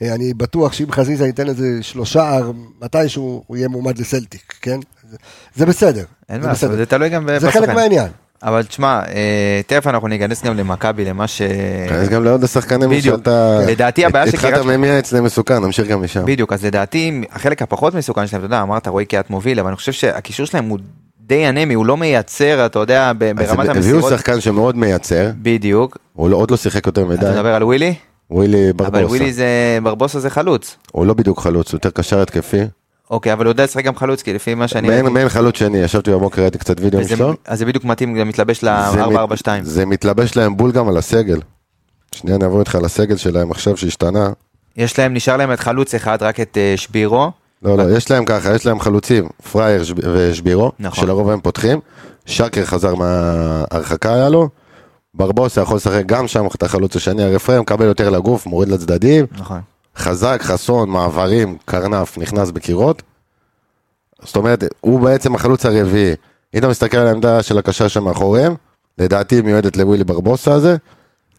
אה, אני בטוח שאם חזיזה ייתן איזה שלושה, אר- מתישהו הוא יהיה מועמד לסלטיק, כן? זה, זה בסדר. אין זה מה לעשות, בסדר. זה תלוי גם זה חלק בסוכן. מהעניין. אבל תשמע, אה, תכף אנחנו ניכנס גם למכבי, למה ש... כן, אז גם לעוד השחקנים כן. בדיוק. שאתה... לדעתי הבעיה של קריית התחלת ממיע אצלי מסוכן, נמשיך גם משם. בדיוק, אז לדעתי החלק הפחות מסוכן שלהם, אתה יודע, אמרת רועי קהת מוביל, אבל אני חושב שהקישור שלהם הוא די אנמי, הוא לא מייצר, אתה יודע, ב- אז ברמת הביאו המסירות. שחקן שמאוד מייצר, בדיוק. הוא לא- עוד לא שיחק יותר אתה מדי, מדבר על ווילי? ווילי אבל ברבוסה. ווילי זה, ברבוסה זה חלוץ. הוא לא בדיוק חלוץ, הוא יותר קשר התקפי. אוקיי, אבל הוא יודע לשחק גם חלוץ, כי לפי מה שאני... מעין ראיתי, מעין חלוץ שני, ישבתי בבוקר, ראיתי קצת וידאו וזה- שלו. אז זה בדיוק מתאים, גם מתלבש זה מת- ל-442. זה מתלבש להם בול גם על הסגל. שנייה אני אעבור איתך על הסגל שלהם עכשיו שהשתנה. יש להם, נשאר להם את חלוץ אחד, רק את אה, שבירו. לא, לא, יש להם ככה, יש להם חלוצים, פרייר שב- ושבירו, נכון. שלרוב הם פותחים. שקר חזר מההרחקה היה לו. ברבוסה יכול לשחק גם שם את החלוץ השני, הרי פרייר מקבל יותר לגוף, מוריד לצדדים. נכון. חזק, חסון, מעברים, קרנף, נכנס בקירות. זאת אומרת, הוא בעצם החלוץ הרביעי. אם אתה מסתכל על העמדה של הקשר שמאחוריהם, לדעתי היא מיועדת לווילי ברבוסה הזה.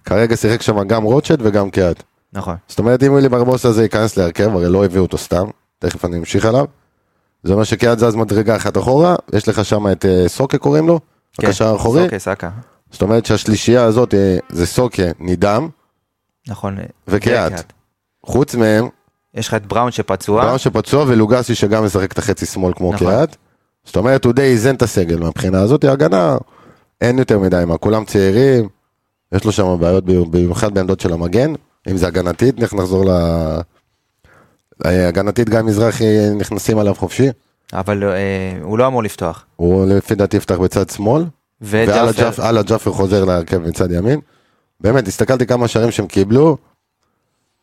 כרגע שיחק שם גם רוטשט וגם קיאט. נכון. זאת אומרת, אם ווילי ברבוסה הזה ייכנס להרכב, הרי לא הביאו אותו סתם, תכף אני אמשיך עליו. זה אומר שקיאט זז מדרגה אחת אחורה, יש לך שם את אה, סוקה קוראים לו, כן, הקשר האחורי. אוקיי, סאקה. זאת אומרת שהשלישייה הזאת אה, זה סוקה, נידם, נכון. וקיאט. חוץ מהם, יש לך את בראון שפצוע. בראון שפצוע ולוגסי שגם משחק את החצי שמאל כמו נכון. קיאט. זאת אומרת הוא די איזן את הסגל מהבחינה הזאת, ההגנה אין יותר מדי מה, כולם צעירים, יש לו שם בעיות ב- במיוחד בעמדות של המגן, אם זה הגנתית, נכ- נחזור ל... אה, הגנתית גם מזרחי אה, נכנסים עליו חופשי, אבל אה, הוא לא אמור לפתוח. הוא לפי דעתי יפתח בצד שמאל, ואללה וג'אפר, ג'אפ- אללה ג'אפר חוזר להרכב מצד ימין. באמת, הסתכלתי כמה שערים שהם קיבלו,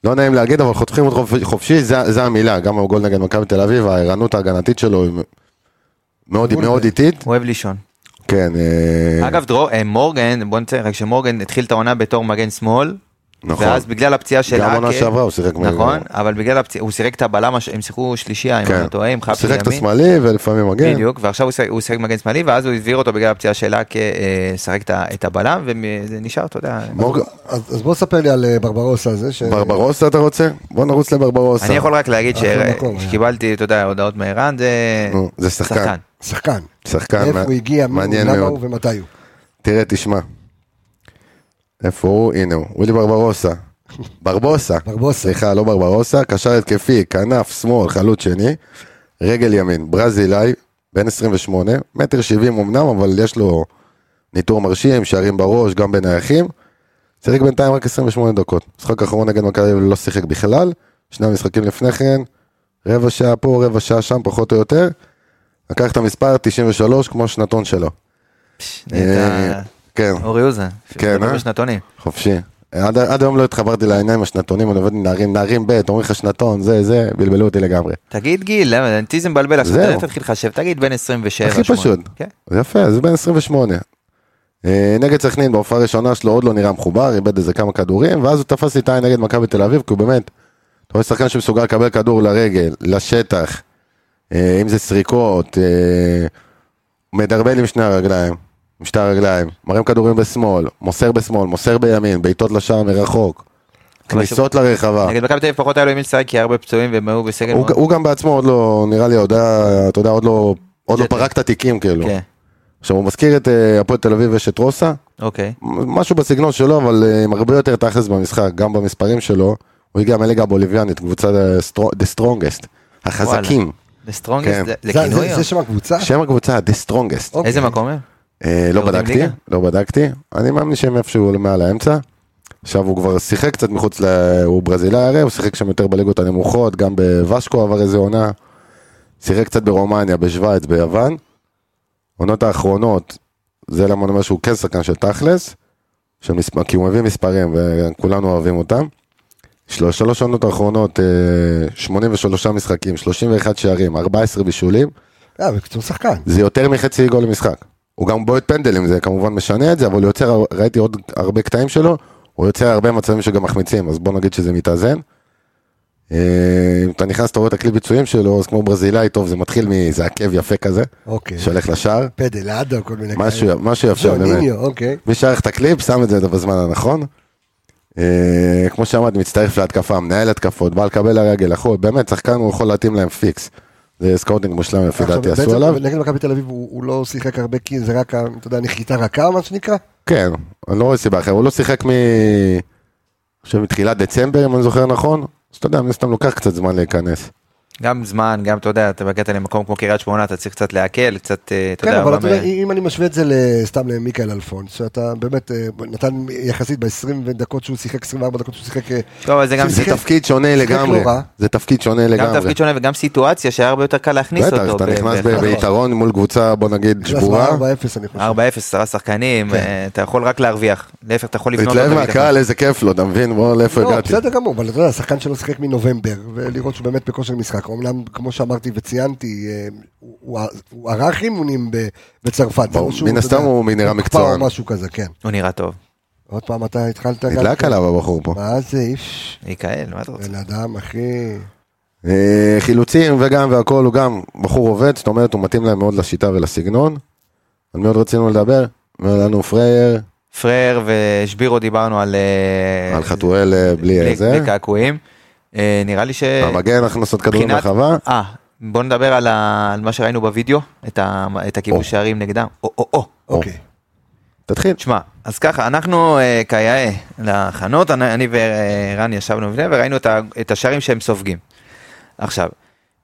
לא נעים להגיד, אבל חוטפים אותך חופ- חופשי, זה זה המילה, גם הגול נגד מכבי תל אביב, הערנות ההגנתית שלו היא מאוד בול מאוד זה. איטית. הוא אוהב לישון. כן, אה, אגב, דרור, אה, מורגן, בוא נציין רק שמורגן התחיל את העונה בתור מגן שמאל, נכון. ואז בגלל הפציעה של גם עונה האקה- שעברה הוא שיחק מגן. נכון, אבל בגלל הפציעה, הוא שיחק את הבלם, הש- הם שיחקו שלישייה, אם כן. אני לא טועה, עם הוא חפשי שיחק את כן. ימין. השמאלי ולפעמים מגן. בדיוק, ועכשיו הוא שיחק- הוא שיחק מגן שמאלי, ואז הוא העביר אותו בגלל הפציעה של האקה, אה, לשחק את ה- את הבלם, וזה נשאר, אתה יודע. מורג- אז, אז בוא ספר לי על אה, ברברוסה הזה. ש... ברברוסה אתה רוצה? בוא נרוץ לברברוסה. אני יכול רק להגיד ש- אחלה מקום, היה. שקיבלתי, אתה יודע, הודעות מערן, זה נו, זה שחקן. שחקן. שחקן איפה מע- הוא הגיע, מי הוא, מעניין למה מאוד. הוא ומתי הוא. תראה, תשמע. איפה הוא? הנה הוא, ווילי ברברוסה. ברבוסה. ברבוסה. סליחה, לא ברברוסה. קשר התקפי, כנף, שמאל, חלוץ שני. רגל ימין, ברזילאי, בן 28, מטר 70 אמנם, אבל יש לו ניטור מרשים, שערים בראש, גם בנייחים. שיחק בינתיים רק 28 דקות. משחק האחרון נגד מכבי תל אביב לא שיחק בכלל. שני המשחקים לפני כן, רבע שעה פה, רבע שעה שם, פחות או יותר. לקח את המספר 93 כמו שנתון שלו. פש, נהיית- אה, כן. אורי אוזן, כן, מדבר אה? בשנתונים. חופשי. עד, עד היום לא התחברתי לעניין עם השנתונים, אני עובד עם נערים, נערים ב', אומרים לך שנתון, זה, זה, בלבלו אותי לגמרי. תגיד גיל, למה אותי זה מבלבל עכשיו, זהו. תלך תתחיל לחשב, תגיד בין 27. הכי שמונה. פשוט. כן. זה יפה, זה בן 28. אה, נגד סכנין בהופעה הראשונה שלו עוד לא נראה מחובר, איבד איזה כמה כדורים, ואז הוא תפס איתי נגד מכבי תל אביב, כי הוא באמת, אתה רואה שחקן שמסוגל לקבל כדור לרגל, לשטח, אה, אם זה סריקות, אה, הוא מדרבל עם שני הרגליים. עם שתי הרגליים, מרים כדורים בשמאל, מוסר בשמאל, מוסר בימין, בעיטות לשער מרחוק, כניסות לרחבה. נגד מכבי תל אביב פחות היה לו עם מי לשחק כי היה הרבה פצועים והם היו בסגל. הוא- מאוד- הוא גם בעצמו עוד לא, נראה לי, עוד היה- אתה יודע, עוד לא עוד לא ג'טה. פרק את התיקים כאילו. כן, עכשיו הוא מזכיר את אה, הפועל תל אביב ויש את רוסה, אוקיי. משהו בסגנון שלו, אבל אה, עם הרבה יותר תכלס במשחק, גם במספרים שלו, הוא הגיע מהליגה הבוליביאנית, קבוצה אה, stro- the strongest, החזקים. The strongest, כן. זה- זה- זה כינוי? זה- או- זה שם הקבוצה? שם הקבוצה, the strongest. אוקיי. איזה מקום הם? אה, לא יורדים בדקתי, ליגה? לא בדקתי, אני מאמין שהם איפשהו מעל האמצע. עכשיו הוא כבר שיחק קצת מחוץ ל... הוא ברזילאי הרי, הוא שיחק שם יותר בליגות הנמוכות, גם בוושקו עבר איזה עונה. שיחק קצת ברומניה, בשוויץ, ביוון. עונות האחרונות, זה למה אני אומר שהוא כן שחקן של תכלס, של מספ... כי הוא מביא מספרים וכולנו אוהבים אותם. שלוש, שלוש עונות האחרונות, אה, 83 משחקים, 31 שערים, 14 בישולים. אה, בקיצור שחקן. זה יותר מחצי גול למשחק. הוא גם בועט פנדלים, זה כמובן משנה את זה, אבל הוא יוצר, ראיתי עוד הרבה קטעים שלו, הוא יוצר הרבה מצבים שגם מחמיצים, אז בוא נגיד שזה מתאזן. אה, אם אתה נכנס, אתה רואה את הכלי ביצועים שלו, אז כמו ברזילאי, טוב, זה מתחיל מאיזה עקב יפה כזה, אוקיי. שהולך לשער, פדל, אדם, כל מיני משהו משהו יפה, באמת. ז'וניניו, אוקיי. מי שערך את הקליפ, שם את זה בזמן הנכון. אה, כמו שאמרת, מצטרף להתקפה, מנהל התקפות, בא לקבל הרגל, אחו, באמת, שחקן הוא יכול להתאים להם פיקס. זה סקאוטינג מושלם לפי עכשיו, דעתי, בעצם עשו עליו. נגד מכבי תל אביב הוא הוא לא שיחק הרבה כי זה רק, ה- אתה יודע, נחיתה רכה מה שנקרא? כן, אני לא רואה סיבה אחרת, הוא לא שיחק מ... אני חושב מתחילת דצמבר אם אני זוכר נכון, אז אתה יודע, מן הסתם לוקח קצת זמן להיכנס. גם זמן, גם אתה יודע, אתה הגעת למקום כמו קריית שמונה, אתה צריך קצת להקל, קצת, אה, אתה כן, יודע, אבל אבל אתה יודע, מ- אם אני משווה את זה ל- סתם למיכאל אלפונס, שאתה באמת אה, נתן יחסית ב-20 דקות שהוא שיחק, 24 דקות שהוא שיחק, אה, לא, אבל זה גם זה שיחק- תפקיד שונה שיחק לגמרי, לא רע. זה תפקיד שונה גם לגמרי. תפקיד שונה וגם סיטואציה שהיה הרבה יותר קל להכניס בטח, אותו. אתה ב- נכנס ב- באחד. נכון. ביתרון מול קבוצה, בוא נגיד, נכנס שבורה, ב-4-0 אני חושב. 4-0, עשרה שחקנים, אה, אתה יכול רק להרוויח. להפך, אתה יכול לבנות כן. להתלהב אותו בביטחון. מהקהל, איזה כיף לו, אתה מבין, בוא, לאיפה לא, הגעתי. בסדר גמור, אבל אתה יודע, שחקן שלא שיחק מנובמבר, ולראות שהוא באמת בכושר משחק. אומנם, כמו שאמרתי וציינתי, אה, הוא- הוא- הוא ערך אימונים ב- בצרפת. זה ברור, לא שהוא, מן אתה הסתם יודע, הוא נראה מוקפא מקצוען. או משהו כזה, כן. הוא נראה טוב. עוד פעם אתה התחלת גם... נדלק כן. עליו הבחור פה. מה זה איש? מיקאל, מה אתה רוצה? בן אדם, אחי... אה, חילוצים וגם והכל, הוא גם בחור עובד, זאת אומרת, הוא מתאים להם מאוד לשיטה ולסגנון. על מי עוד רצינו לדבר? אומר לנו פרייר, פרר ושבירו דיברנו על... אה, על חתואל אה, בלי בלי- זה. בלי קעקועים. אה, נראה לי ש... המגן הכנסות כדורים מבחינת- רחבה. אה, בוא נדבר על ה- על מה שראינו בווידאו, את ה- את הכיבוש או. שערים נגדם. או, או, או. אוקיי. תתחיל. תשמע, אז ככה, אנחנו אה, כיאה להכנות, אני, אני ורן ישבנו לפני וראינו את, ה, את השערים שהם סופגים. עכשיו,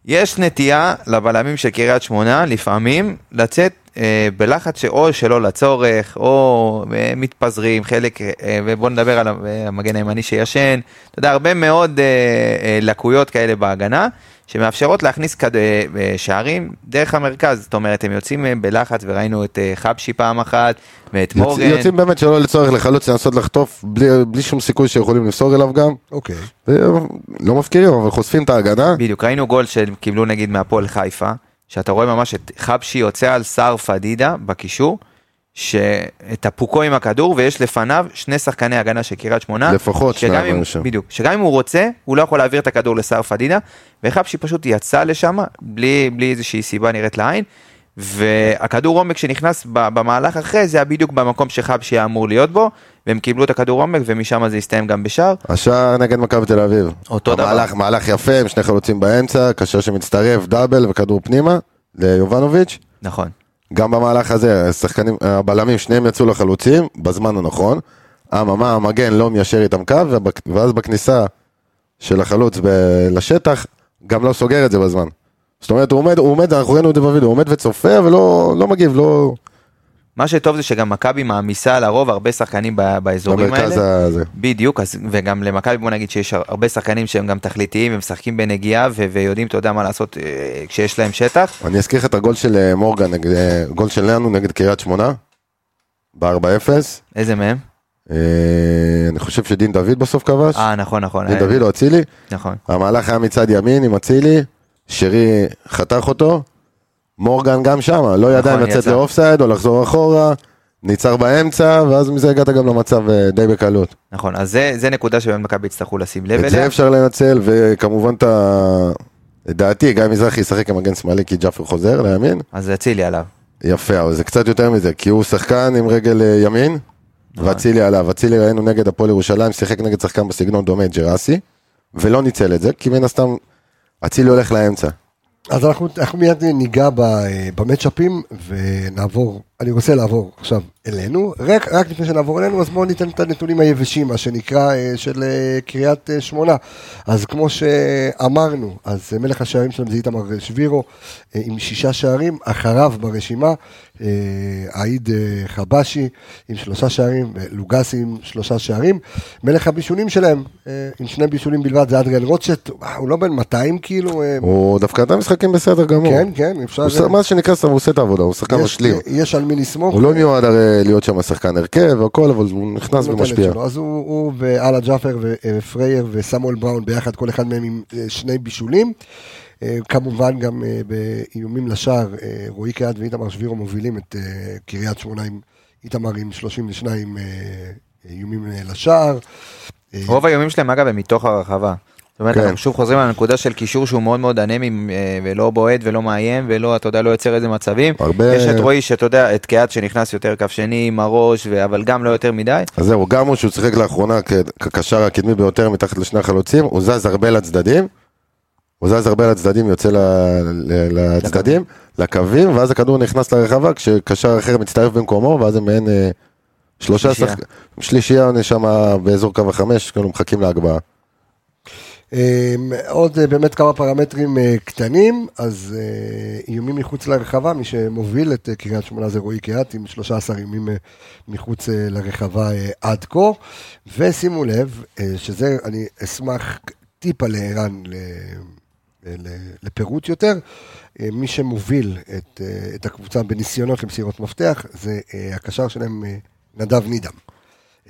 יש נטייה לבלמים של קריית שמונה לפעמים לצאת אה, בלחץ שאו שלא לצורך, או אה, מתפזרים, חלק, אה, ובואו נדבר על ה- אה, המגן הימני שישן, אתה יודע, הרבה מאוד אה, אה, לקויות כאלה בהגנה, שמאפשרות להכניס כד, אה, אה, שערים דרך המרכז, זאת אומרת, הם יוצאים אה, בלחץ, וראינו את אה, חבשי פעם אחת, ואת יוצ- מורגן. יוצאים באמת שלא לצורך לחלוץ לנסות לחטוף בלי, בלי שום סיכוי שיכולים למסור אליו גם. אוקיי. לא מפקירים אבל חושפים את ההגנה. בדיוק, ראינו גול שהם קיבלו נגיד מהפועל חיפה, שאתה רואה ממש את חבשי יוצא על סער פדידה בקישור, שאת הפוקו עם הכדור, ויש לפניו שני שחקני הגנה של קריית שמונה. לפחות שגם שניים אם- היו שם. בדיוק, שגם אם הוא רוצה, הוא לא יכול להעביר את הכדור לסער פדידה, וחבשי פשוט יצא לשם בלי, בלי איזושהי סיבה נראית לעין. והכדור עומק שנכנס ב- במהלך אחרי זה היה בדיוק במקום שחבשי היה אמור להיות בו והם קיבלו את הכדור עומק ומשם זה הסתיים גם בשער. השער נגד מכבי תל אביב. אותו דבר. המהלך, מהלך יפה עם שני חלוצים באמצע, קשר שמצטרף, דאבל וכדור פנימה ליובנוביץ'. נכון. גם במהלך הזה, השחקנים, הבלמים, שניהם יצאו לחלוצים, בזמן הנכון. אממה, המגן לא מיישר איתם קו, ובק- ואז בכניסה של החלוץ ב- לשטח, גם לא סוגר את זה בזמן. זאת אומרת, הוא עומד, הוא עומד, אנחנו ראינו את זה בווידאו, הוא עומד וצופה ולא לא מגיב, לא מה שטוב זה שגם מכבי מעמיסה לרוב הרבה שחקנים ב- באזורים במרכז האלה. הזה. בדיוק, אז, וגם למכבי בוא נגיד שיש הר- הרבה שחקנים שהם גם תכליתיים ומשחקים בנגיעה ו- ויודעים, אתה יודע מה לעשות אה, כשיש להם שטח. אני אזכיר לך את הגול של אה, מורגן, נגד- אה, גול שלנו נגד קריית שמונה, ב-4-0. איזה מהם? אה, אני חושב שדין דוד בסוף כבש, אה, נכון, נכון. דין אה, דוד לא או אצילי. נכון. המהלך היה מצד ימין עם אצילי, שרי חתך אותו, מורגן גם שם, לא ידע אם נכון, לצאת יצא. לאופסייד או לחזור אחורה, ניצר באמצע, ואז מזה הגעת גם למצב אה, די בקלות. נכון, אז זה, זה נקודה שבאמת מכבי יצטרכו לשים לב את זה אליה. אפשר לנצל, וכמובן את ה... לדעתי, גיא מזרחי ישחק עם מגן שמאלי כי ג'אפר חוזר לימין, אז אצילי עליו. יפה, אבל זה קצת יותר מזה, כי הוא שחקן עם רגל אה, ימין, נכון. ואצילי עליו. אצילי ראינו נגד הפועל ירושלים, שיחק נגד שחקן בסגנון דומה, ג'רסי, ולא ניצל את זה, כי מן הסתם, אצילי הולך לאמצע. אז אנחנו, אנחנו מיד ניגע ב- אה, במצ'אפים ונעבור, אני רוצה לעבור עכשיו אלינו, רק, רק לפני שנעבור אלינו אז בואו ניתן את הנתונים היבשים, מה שנקרא אה, של אה, קריית אה, שמונה. אז כמו שאמרנו, אז אה, מלך השערים שלהם זה איתמר שבירו אה, עם שישה שערים, אחריו ברשימה אה, עאיד אה, חבשי עם שלושה שערים, ולוגסי עם שלושה שערים. מלך הבישולים שלהם אה, עם שני בישולים בלבד זה אדריאל רוטשט, אה, הוא לא בן 200 כאילו. אה, הוא דווקא נתן משחקים בסדר גמור. כן, כן, אפשר... הוא ש- מה שנקרא, הוא עושה את העבודה, הוא שחקן יש- אה, משלים. יש על מי לסמוך. הוא לא מיועד הרי להיות שם שחקן הרכב והכל, אבל הוא נכנס הוא נותן את ומשפיע. שלו. אז הוא הוא ואללה ג'אפר ו- ופרייר וסמואל בראון ביחד, כל אחד מהם עם אה, שני בישולים. אה, כמובן גם אה, באיומים לשער, אה, רועי קהת ואיתמר שבירו מובילים את אה, קריית שמונה עם איתמר עם 32 אה, איומים אה, לשער. אה, רוב האיומים שלהם אגב הם מתוך הרחבה. זאת אומרת, כן. אנחנו שוב חוזרים על הנקודה של קישור שהוא מאוד מאוד אנמי אה, ולא בועט ולא מאיים ולא, אתה יודע, לא יוצר איזה מצבים. הרבה- יש את רועי שאתה יודע, את קיאט שנכנס יותר כף שני עם הראש, ו- אבל גם לא יותר מדי. אז זהו, גם הוא שהוא שיחק לאחרונה כ- כקשר הקדמי ביותר מתחת לשני החלוצים, הוא זז הרבה לצדדים, הוא זז הרבה לצדדים, יוצא ל- ל- לצדדים, לקווים, ואז הכדור נכנס לרחבה כשקשר אחר מצטרף במקומו, ואז הם מעין אה, שלושה שלישייה. שחקנים, שלישייה שם באזור קו החמש, כאילו מחכים להגבהה. אמ, עוד אה, באמת כמה פרמטרים אה, קטנים, אז אה, איומים מחוץ לרחבה, מי שמוביל את אה, קריית שמונה זה רועי קהת עם 13 איומים אה, מחוץ אה, לרחבה אה, עד כה, ושימו לב, אה, שזה, אני אשמח טיפה לערן ל- אה, ל- לפירוט יותר, אה, מי שמוביל את, אה, את הקבוצה בניסיונות למסירות מפתח זה אה, הקשר שלהם אה, נדב נידם.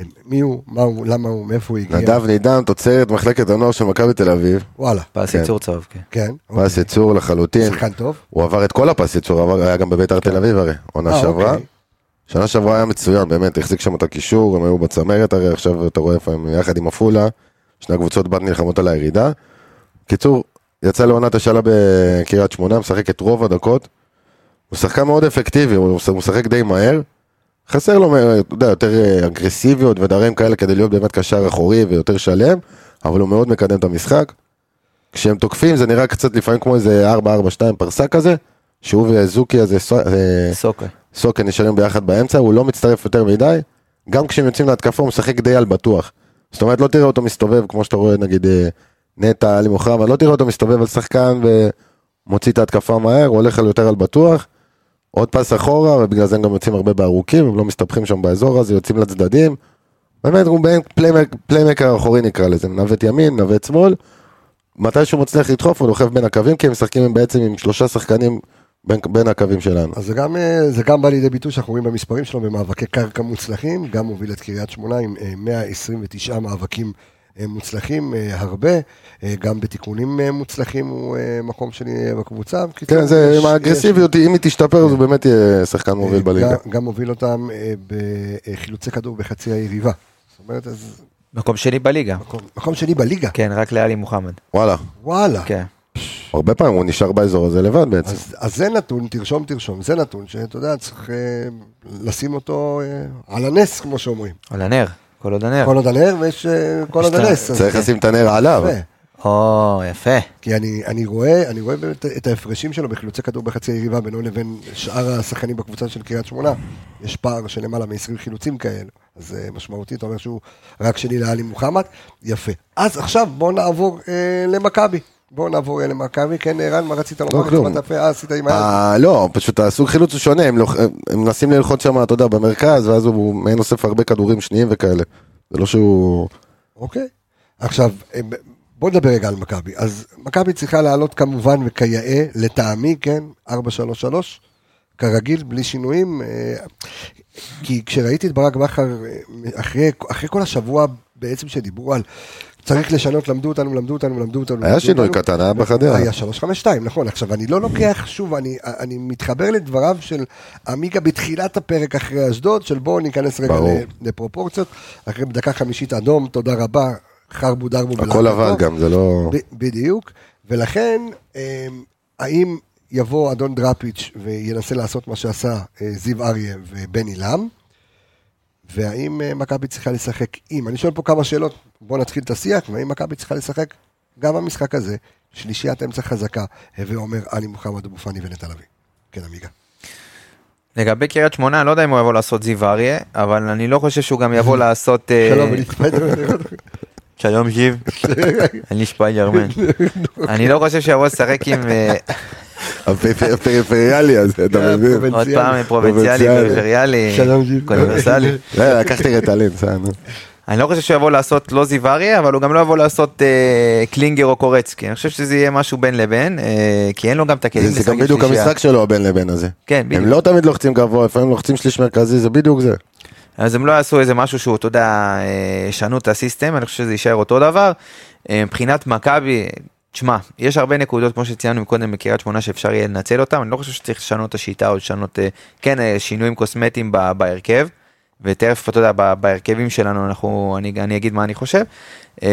אה, מי הוא, מה הוא, למה הוא, מאיפה הוא הגיע, נדב נידם, תוצרת מחלקת הנוער של מכבי תל אביב, וואלה, פס כן. ייצור צהוב, כן. כן. פס ייצור לחלוטין. שחקן טוב. הוא עבר את כל הפס ייצור, עבר- היה גם בביתר תל אביב הרי, אה, עונה שעברה. אוקיי. שנה שעברה היה מצוין, באמת, החזיק שם את הקישור, הם היו בצמרת הרי, עכשיו אתה רואה איפה הם יחד עם עפולה, שני הקבוצות בת נלחמות על הירידה. קיצור, יצא לעונת השאלה בקריית שמונה, משחק את רוב הדקות. הוא שחקן מאוד אפקטיבי, הוא הוא משחק די מהר. חסר לו, אה, אתה יודע, יותר אה, אגרסיביות ודברים כאלה כדי להיות באמת קשר אחורי ויותר שלם, אבל הוא מאוד מקדם את המשחק. כשהם תוקפים זה נראה קצת לפעמים כמו איזה 4-4-2 פרסה כזה, שהוא וזוקי הזה, סו- אה, סוקה. סוקה נשארים ביחד באמצע, הוא לא מצטרף יותר מדי, גם כשהם יוצאים להתקפה הוא משחק די על בטוח. זאת אומרת, לא תראה אותו מסתובב כמו שאתה רואה נגיד אה, נטע, עלי מוחמד, לא תראה אותו מסתובב על שחקן ומוציא את ההתקפה מהר, הוא הולך על יותר על בטוח, עוד פס אחורה, ובגלל זה הם גם יוצאים הרבה בארוכים, הם לא מסתבכים שם באזור הזה, יוצאים לצדדים. באמת, הוא בין פליימק- פליימקר האחורי נקרא לזה, מנווט ימין, מנווט שמאל. מתי שהוא מצליח לדחוף, הוא דוחף בין הקווים, כי הם משחקים עם- בעצם עם שלושה שחקנים בין, בין הקווים שלנו. אז זה גם, אה, זה גם בא לידי ביטוי שאנחנו רואים במספרים שלו במאבקי קרקע מוצלחים, גם הוביל את קריית שמונה עם אה, 129 מאבקים אה, מוצלחים, אה, הרבה, אה, גם בתיקונים אה, מוצלחים הוא אה, מקום שני אה, בקבוצה. כן, בקיצור, זה יש- עם האגרסיביות, אם היא תשתפר, אז הוא באמת יהיה שחקן יש, אה, מוביל בליגה. גם- גם הוביל אותם אה, בחילוצי כדור בחצי היריבה. זאת אומרת, אז מקום שני בליגה. מקום- מקום שני בליגה, כן, רק לאלי מוחמד. וואלה, וואלה. כן. הרבה פעמים הוא נשאר באזור הזה לבד בעצם. אז, אז זה נתון, תרשום, תרשום, זה נתון שאתה יודע, צריך אה, לשים אותו אה, על הנס, כמו שאומרים. על הנר, כל עוד הנר. כל עוד הנר ויש אה, כל עוד יש את ה- הנס. אז כן. צריך זה לשים את הנר עליו. אה, יפה. או, יפה. כי אני, אני רואה, אני רואה באמת את ההפרשים שלו בחילוצי כדור בחצי היריבה בינו לבין שאר השחקנים בקבוצה של קריית שמונה. יש פער של למעלה מ-20 חילוצים כאלה, אז זה משמעותי, אתה אומר שהוא רק שני לאלי מוחמד, יפה. אז עכשיו בואו נעבור אה, למכבי. בואו נעבור אה, למכבי, כן ערן, מה רצית לומר? לא, כלום. הצבעת יפה, אה, עשית עם היד? אה, לא, פשוט הסוג חילוץ הוא שונה, הם לוח- הם מנסים ללחוץ שם, אתה יודע, במרכז, ואז הוא מעין אוסף הרבה כדורים שניים וכאלה. זה לא שהוא... אוקיי. עכשיו, אמ, בוא נדבר רגע על מכבי. אז מכבי צריכה לעלות כמובן וכיאה, לטעמי, כן, 4-3-3, כרגיל, בלי שינויים. אה, כי כשראיתי את ברק בכר, אה, אחרי, אחרי כל השבוע בעצם שדיברו על צריך לשנות, למדו אותנו, למדו אותנו, למדו אותנו. היה למדו שינוי אותנו. קטן, היה בחדרה. כאילו- היה 352, נכון. עכשיו, אני לא לוקח, שוב, אני, אני מתחבר לדבריו של עמיקה בתחילת הפרק אחרי אשדוד, של בואו ניכנס רגע ברור. ל- לפרופורציות. אחרי דקה חמישית אדום, תודה רבה, חרבו דרבו. הכל לא- בלעדיתו. לבן גם, זה לא... ב- בדיוק, ולכן, אמ, האם יבוא אדון דראפיץ' וינסה לעשות מה שעשה אה, זיו אריה ובן אילם, והאם אה, מכבי צריכה לשחק עם? אני שואל פה כמה שאלות, בואו נתחיל את השיח, והאם מכבי צריכה לשחק גם במשחק הזה, שלישיית אמצע חזקה, הווה אומר עלי מוחמד אבו פאני ונטע לביא. כן, עמיגה. לגבי קריית שמונה, אני לא יודע אם הוא יבוא לעשות זיו אריה, אבל אני לא חושב שהוא גם יבוא לעשות... אה, שלום, ולהתפעל. שלום זיו, אני שפייגרמן. אני לא חושב שיבוא לשחק עם... אה, הפריפ- הפריפריאלי הזה, אתה כן, מבין? פרובינציאלי. עוד פעם פרובינציאלי, פרובינציאלי. פריפריאלי, שלום, זיו. קוניברסלי. אה, לקחתי רטלין, בסדר. נו. אני לא חושב שהוא יבוא לעשות לא זיו אריה, אבל הוא גם לא יבוא לעשות אה, קלינגר או קורצקי. אני חושב שזה יהיה משהו בין לבין, אה, כי אין לו גם את הכלים זה- זה לשחק גם עם בדיוק שלישייה. המשחק שלו, הבין לבין הזה. כן, בדיוק. הם לא תמיד לוחצים גבוה, לפעמים לוחצים שליש מרכזי, זה בדיוק זה. אז הם לא יעשו איזה משהו שהוא, אתה יודע, אה, ישנו את הסיסטם, אני חושב שזה יישאר אותו דבר. אה, מבחינת מכבי, תשמע, יש הרבה נקודות, כמו שציינו קודם בקריית שמונה, שאפשר יהיה לנצל אותן, אני לא חושב שצריך לשנות את השיטה או לשנות, אה, כן, אה, שינויים קוסמטיים ב- בהרכב, ותכף, אתה יודע, ב- בהרכבים שלנו, אנחנו, אני, אני אגיד מה אני חושב. אה,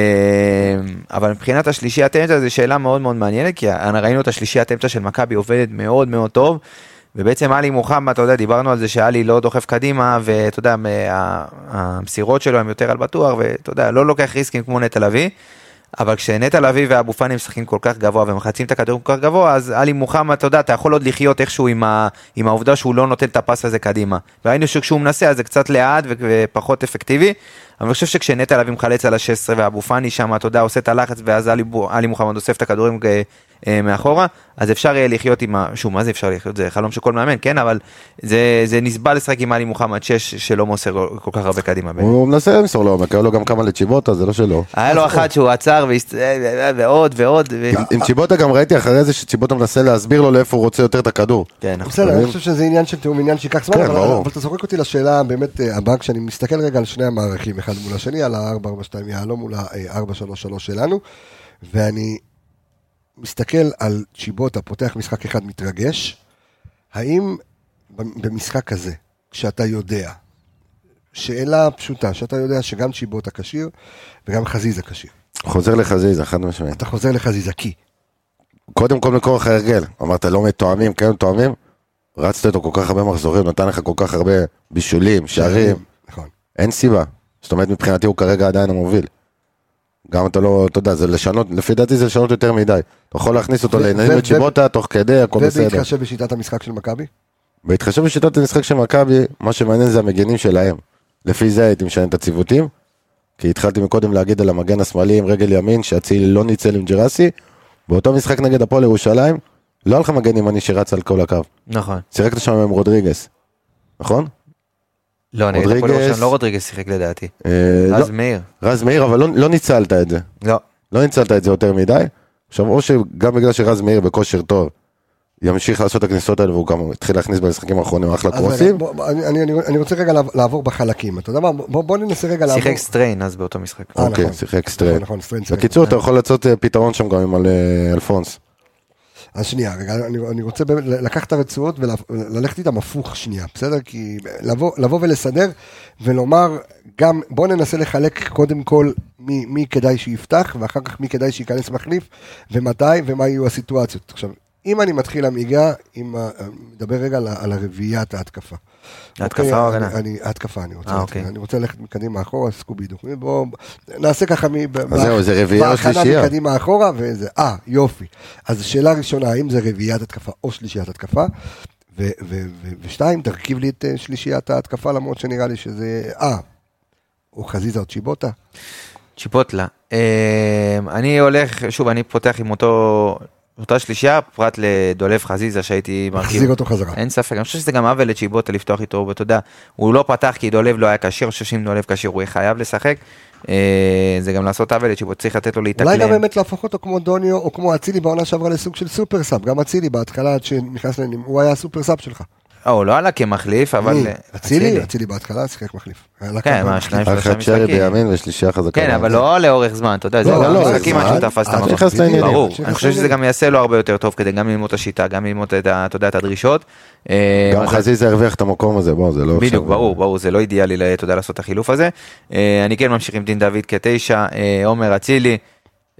אבל מבחינת השלישיית אמצע, זו שאלה מאוד מאוד מעניינת, כי אה, ראינו את השלישיית אמצע של מכבי עובדת מאוד מאוד טוב. ובעצם עלי מוחמד, אתה יודע, דיברנו על זה שאלי לא דוחף קדימה, ואתה יודע, מה- המסירות שלו הן יותר על בטוח, ואתה יודע, לא לוקח ריסקים כמו נטע לביא, אבל כשנטע לביא ואבו פאני משחקים כל כך גבוה ומחצים את הכדורים כל כך גבוה, אז עלי מוחמד, אתה יודע, אתה יכול עוד לחיות איכשהו עם, ה, עם העובדה שהוא לא נותן את הפס הזה קדימה. ראינו שכשהוא מנסה אז זה קצת לאט ו- ופחות אפקטיבי, אבל אני חושב שכשנטע לביא מחלץ על ה-16 ואבו פאני שם, אתה יודע, עושה את הלחץ, ואז עלי, בו- עלי מוחמד אוסף את הכדורים אה, אה, מאחורה, אז אפשר יהיה לחיות עם ה... שוב, מה זה אפשר לחיות? זה חלום של כל מאמן, כן? אבל זה, זה נסבל לשחק עם עלי מוחמד 6 שלא מוסר כל- כל כך הרבה קדימה. באמת. הוא מנסה למסור לעומק, היו לו גם כמה לצ'יבוטה, זה לא שלו. היה לו אחת שהוא עצר והסת- אה, ועוד ועוד. ו- עם- עם צ'יבוטה גם ראיתי אחרי זה שצ'יבוטה מנסה להסביר לו לאיפה הוא רוצה יותר את הכדור. כן, נכון. בסדר, אני מבין? חושב שזה עניין של תיאום, עניין שייקח זמן, כן, אבל ברור. אבל אתה זורק אותי לשאלה באמת אה, הבאה, כשאני מסתכל רגע על שני המערכים, אחד מול השני, על ה-442 יהלום מול ה-433 שלנו, ואני מסתכל על צ'יבוטה, פותח משחק אחד מתרגש, האם במ- במשחק הזה, כשאתה יודע, שאלה פשוטה, שאתה יודע שגם צ'יבוטה כשיר וגם חזיזה כשיר, חוזר לחזיזה, חד משמעית. אתה חוזר לחזיזה, כי קודם כל מכורח ההרגל, אמרת לא מתואמים, כן מתואמים, רצת איתו כל כך הרבה מחזורים, נתן לך כל כך הרבה בישולים, שערים, נכון, אין סיבה. זאת אומרת, מבחינתי הוא כרגע עדיין המוביל. גם אתה לא, אתה יודע, זה לשנות, לפי דעתי זה לשנות יותר מדי. אתה יכול להכניס אותו ו- ו- לעניינים בצ'יבוטה, תוך כדי, הכל בסדר. ובהתחשב בשיטת המשחק של מכבי, בהתחשב בשיטת המשחק של מכבי, מה שמעניין זה המגנים שלהם. לפי זה הייתי משנה את הציוותים, כי התחלתי מקודם להגיד על המגן השמאלי עם רגל ימין, שאצילי לא ניצל עם ג'רסי. באותו משחק נגד הפועל ירושלים, לא היה לך מגן ימני שרץ על כל הקו. נכון. שיחקת שם עם רודריגס, נכון? לא, נגד הפועל רודריגז. ירושלים לא רודריגז שיחק לדעתי. אה, לא, אז מאיר. רז מאיר, אבל לא- לא ניצלת את זה. לא. לא ניצלת את זה יותר מדי. עכשיו, או שגם בגלל שרז מאיר בכושר טוב, ימשיך לעשות את הכניסות האלה, והוא גם התחיל להכניס במשחקים האחרונים אחלה אז רגע, קרוסים. בוא- בוא- אני- אני- אני- אני רוצה רגע לעב- לעבור בחלקים, אתה יודע מה, בוא בוא ננסה רגע לעבור. שיחק סטריין אז באותו משחק. אה, אוקיי, נכון. שיחק סטרייט. נכון, נכון, סטרייט שיחק. בקיצור, אתה יכול לעשות אה, פתרון שם גם עם אה, אלפונס. אז שנייה, רגע, אני- אני רוצה באמת לקחת את הרצועות וללכת איתם הפוך שנייה, בסדר? כי לבוא- לבוא ולסדר ולומר, גם בוא ננסה לחלק קודם כל מי מי כדאי שיפתח ואחר כך מי כדאי שייכנס מחליף ומתי ומה יהיו הסיטואציות. עכשיו, אם אני מתחיל עמיגה, אם ה- נדבר רגע על ה- על הרביעיית ההתקפה. ההתקפה אוקיי, או ההגנה? אני- אני- ההתקפה אני רוצה. אה, להתחיל. אוקיי. אני רוצה ללכת מקדימה אחורה, סקובידו. בואו נעשה ככה מ... אז זהו, זה רביעייה או שלישייה? בהכנה מקדימה אחורה, וזה, אה, יופי. אז שאלה ראשונה, האם זה רביעיית התקפה או שלישיית התקפה? ו- ו- ו- ושתיים, תרכיב לי את אה, שלישיית ההתקפה, למרות שנראה לי שזה, אה, או חזיזה או צ'יבוטה. צ'יפוטלה. אה, אני הולך, שוב, אני פותח עם אותו, אותה שלישייה, פרט לדולב חזיזה שהייתי מרכיב. מחזיר אותו חזרה. אין ספק, אני חושב שזה גם עוול לצ'יבוטה לפתוח איתו, ואתה יודע, הוא לא פתח כי דולב לא היה כשיר, אני חושב שאם דולב כשיר הוא יהיה חייב לשחק. אה, זה גם לעשות עוול לצ'יבוטה, צריך לתת לו להתאקלם. אולי גם באמת להפוך אותו כמו דוניו או כמו אצילי בעונה שעברה לסוג של סופר סאב, גם אצילי בהתחלה עד שנכנס לעניינים, הוא היה הסופר סאב שלך. אה, הוא לא עלה כמחליף, אבל... מי? אצילי, אצילי בהתחלה שיחק מחליף. עלה כן, כמה מה, משחקים. שניים, שלושה אחלה צ'רי משחקים. בימין ושלישייה חזקה. כן, אבל באמצע. לא לאורך זמן, אתה יודע, זה לא, גם לא, משחקים זמן. עד שהוא תפס את אה, המקום. נכנס בדיוק. לעניינים. ברור, נכנס אני חושב שזה לעניינים. גם יעשה לו הרבה יותר טוב כדי גם ללמוד את השיטה, גם ללמוד את ה- אתה יודע, את הדרישות. אה, גם אז- חזיזה הרוויח את המקום הזה, בוא, זה לא... עכשיו- בדיוק, ברור, ברור, זה לא אידיאלי, ל- אתה יודע, לעשות את החילוף הזה. אה, אני כן ממשיך עם דין דוד כתשע, אה, עומר אצילי,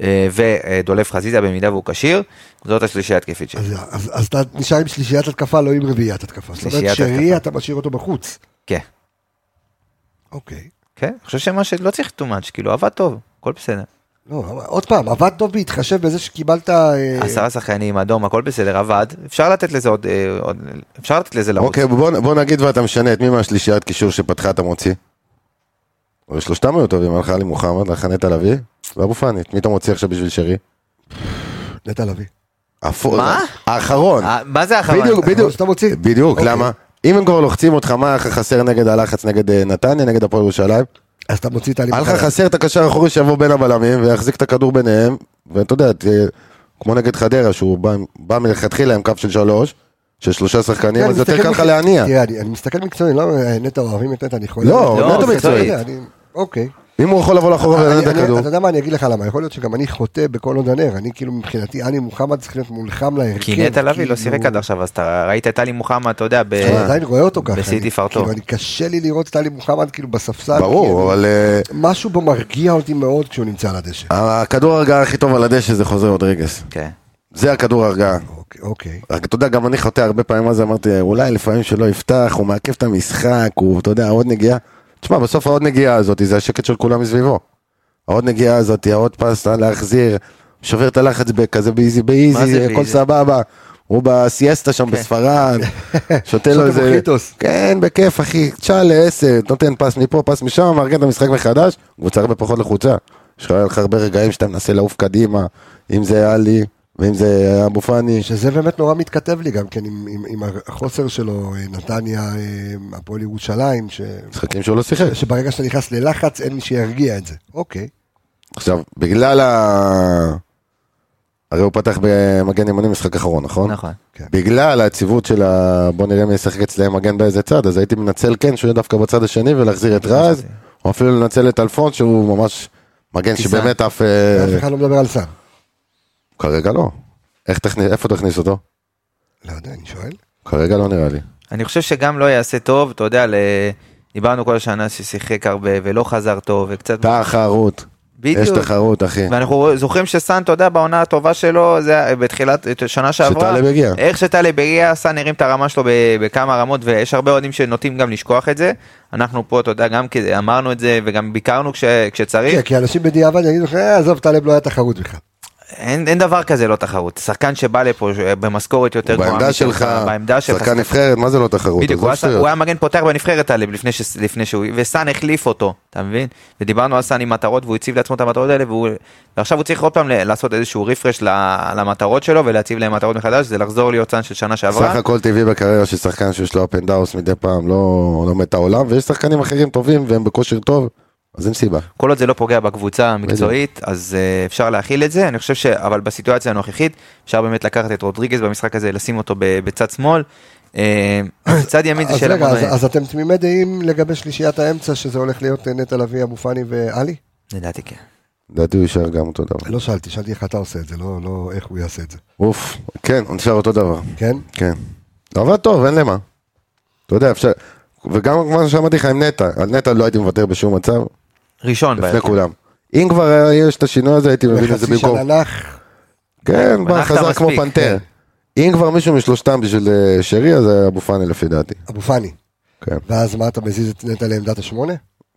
אה, ודולף חזיזה במידה והוא כשיר, זאת השלישייה התקפית שלי. אז, אז, אז אתה נשאר עם שלישיית התקפה, לא עם רביעיית התקפה. זאת אומרת, שלישיית שרי, התקפה. אתה משאיר אותו בחוץ. כן. אוקיי. כן, אני חושב שמה שלא צריך too much, כאילו עבד טוב, הכל בסדר. לא, אבל עוד פעם, עבד טוב בהתחשב בזה שקיבלת... אה, עשרה שחקנים, אדום, הכל בסדר, עבד, אפשר לתת לזה עוד, אה, עוד- אפשר לתת לזה לרוץ. אוקיי, בוא, בוא נגיד ואתה משנה את מי מהשלישיית קישור שפתחה אתה מוציא. אבל שלושתם היו טובים, הלכה לי מוחמד, הלכה נטע לביא, ואבו פאני, את מי אתה מוציא עכשיו בשביל שרי? נטע לביא. הפו- מה? האחרון. אה, מה זה האחרון? בדיוק, האחרון בדיוק. שאתה מוציא. בדיוק, אוקיי. למה? אם הם כבר לוחצים אותך, מה היה לך חסר נגד הלחץ נגד אה, נתניה, נגד הפועל ירושלים? אז אתה מוציא את האלימות. היה לך חסר את הקשר האחורי שיבוא בין הבלמים ויחזיק את הכדור ביניהם, ואתה יודע, ת- כמו נגד חדרה, שהוא בא- בא מלכתחילה עם קו של שלוש, של שלושה כן, שחקנים, אז יותר קל לך להניע. תראה, אני אני מסתכל מקצועי, לא אה, נטע אוהבים את נטע, אני יכול... לא, לא, נטע זה מקצועית. מקצועית. אני- אוקיי. אם הוא יכול לבוא לאחורה אני- ולנהל את אני- הכדור. אתה יודע מה, אני אגיד לך למה, יכול להיות שגם אני חוטא בכל עוד הנר, אני כאילו מבחינתי, אני מוחמד צריך להיות מולחם להרכב. כי נטע לביא לא כאילו- שיחק עד עכשיו, אז אתה ראית את טלי מוחמד, אתה יודע, ב... אני עדיין רואה אותו ככה. בשיא אני- תפארתו. כאילו, אני קשה לי לראות את טלי מוחמד כאילו בספסל. ברור, כאילו, אבל אה, משהו בו מרגיע אותי מאוד כשהוא נמצא על הדשא. הכדור ההרגעה הכי טוב על הדשא זה חוזר רודריגס. כן. זה הכדור ההרגעה. אוקיי, אוקיי. רק אתה יודע, גם אני חוטא הרבה פעמים, אז אמרתי, אולי לפעמים שלא יפתח, הוא מעכב את המשחק, הוא, אתה יודע, עוד נגיעה. תשמע, בסוף העוד נגיעה הזאת, זה השקט של כולם מסביבו. העוד נגיעה הזאת, העוד פס אה, להחזיר, שובר את הלחץ ב- כזה באיזי מה זה באיזי, הכל באיזי? סבבה. הוא בסיאסטה שם בספרד, שותה שותה לו איזה... מוחיטוס. כן, בכיף, אחי, תשע לעשר, נותן פס מפה, פס משם, מארגן את המשחק מחדש, קבוצה הרבה פחות לחוצה. יש לך- היה לך הרבה רגעים שאתה מנסה לעוף קדימה, אם זה עלי, ואם זה אבו פאני. שזה באמת נורא מתכתב לי גם כן עם- עם- עם החוסר שלו, אה, נתניה, אה, הפועל ירושלים, ש- משחקים שהוא לא שיחק. שברגע שאתה נכנס ללחץ אין מי שירגיע את זה. אוקיי. עכשיו, בגלל ה... הרי הוא פתח במגן ימני משחק אחרון, נכון? נכון. כן. בגלל היציבות של ה... בוא נראה מי ישחק אצלם מגן באיזה צד, אז הייתי מנצל כן שהוא יהיה דווקא בצד השני ולהחזיר את רז, או אפילו לנצל את אלפון שהוא ממש מגן טיסה. שבאמת אף... אה, אף אחד לא מדבר על סער. כרגע לא. איך תכניס... איפה תכניס אותו? לא יודע, אני שואל. כרגע לא נראה לי. אני חושב שגם לא יעשה טוב, אתה יודע, ל... דיברנו כל השנה ששיחק הרבה ולא חזר טוב וקצת... תחרות. יש בדיוק. תחרות, אחי. ואנחנו זוכרים שסאן, אתה יודע, בעונה הטובה שלו, זה בתחילת את שנה שעברה, שטלב הגיע. איך שטלב הגיע, סאן הרים את הרמה שלו ב- בכמה רמות, ויש הרבה אוהדים שנוטים גם לשכוח את זה. אנחנו פה, אתה יודע, גם כי אמרנו את זה וגם ביקרנו כש, כשצריך, כן, אה. כי אנשים בדיעבד יגידו לך, "אה, עזוב, טלב לא היה תחרות בכלל. אין, אין דבר כזה לא תחרות. שחקן שבא לפה ש- במשכורת יותר גבוהה, בעמדה משלך, שלך, בעמדה שלך, שחקן נבחרת, מה זה לא תחרות? בדיוק, עזוב הוא היה- שטויות. הוא היה מגן פותח בנבחרת טלב לפני, ש, לפני שהוא, וסאן החליף אותו, אתה מבין? ודיברנו על סאן עם מטרות והוא הציב לעצמו את המטרות האלה, והוא, ועכשיו הוא צריך עוד פעם ל- לעשות איזשהו רפרש ל- למטרות שלו ולהציב להם מטרות מחדש, זה לחזור להיות סאן של שנה שעברה. סך הכל טבעי בקריירה של שחקן שיש לו up and downs מדי פעם, לא לומד את העולם, ויש שחקנים אחרים טובים והם בכושר טוב, אז אין סיבה. כל עוד זה לא פוגע בקבוצה המקצועית, אז אה, אפשר להכיל את זה. אני חושב ש... אבל בסיטואציה הנוכחית, אפשר באמת לקחת את רודריגז במשחק הזה, לשים אותו ב- בצד שמאל. אה, צד ימין זה אז שאלה רגע, מאוד אז- מעניינת. אז אתם תמימי דעים לגבי שלישיית האמצע, שזה הולך להיות אה, נטע לביא, אבו פאני ועלי? לדעתי כן. לדעתי הוא יישאר גם אותו דבר. לא שאלתי, שאלתי איך אתה עושה את זה, לא לא איך הוא יעשה את זה. אוף, כן, הוא נשאר אותו דבר. כן? כן. אבל טוב, אין למה. אתה יודע, אפשר... וגם כמו שאמרתי לך עם נטע, על נטע לא הייתי מוותר בשום מצב, ראשון לפני בהרכב. כולם. אם כבר היה- יש את השינוי הזה, הייתי מבין את זה חצי במקום. שנה לא. נח, כן, בא, מנחת חזר כמו מספיק, כן. פנתר. אם כבר מישהו משלושתם בשביל אה, שרי, אז זה אבו פאני לפי דעתי. אבו פאני. כן. ואז מה, אתה מזיז את נטע לעמדת השמונה?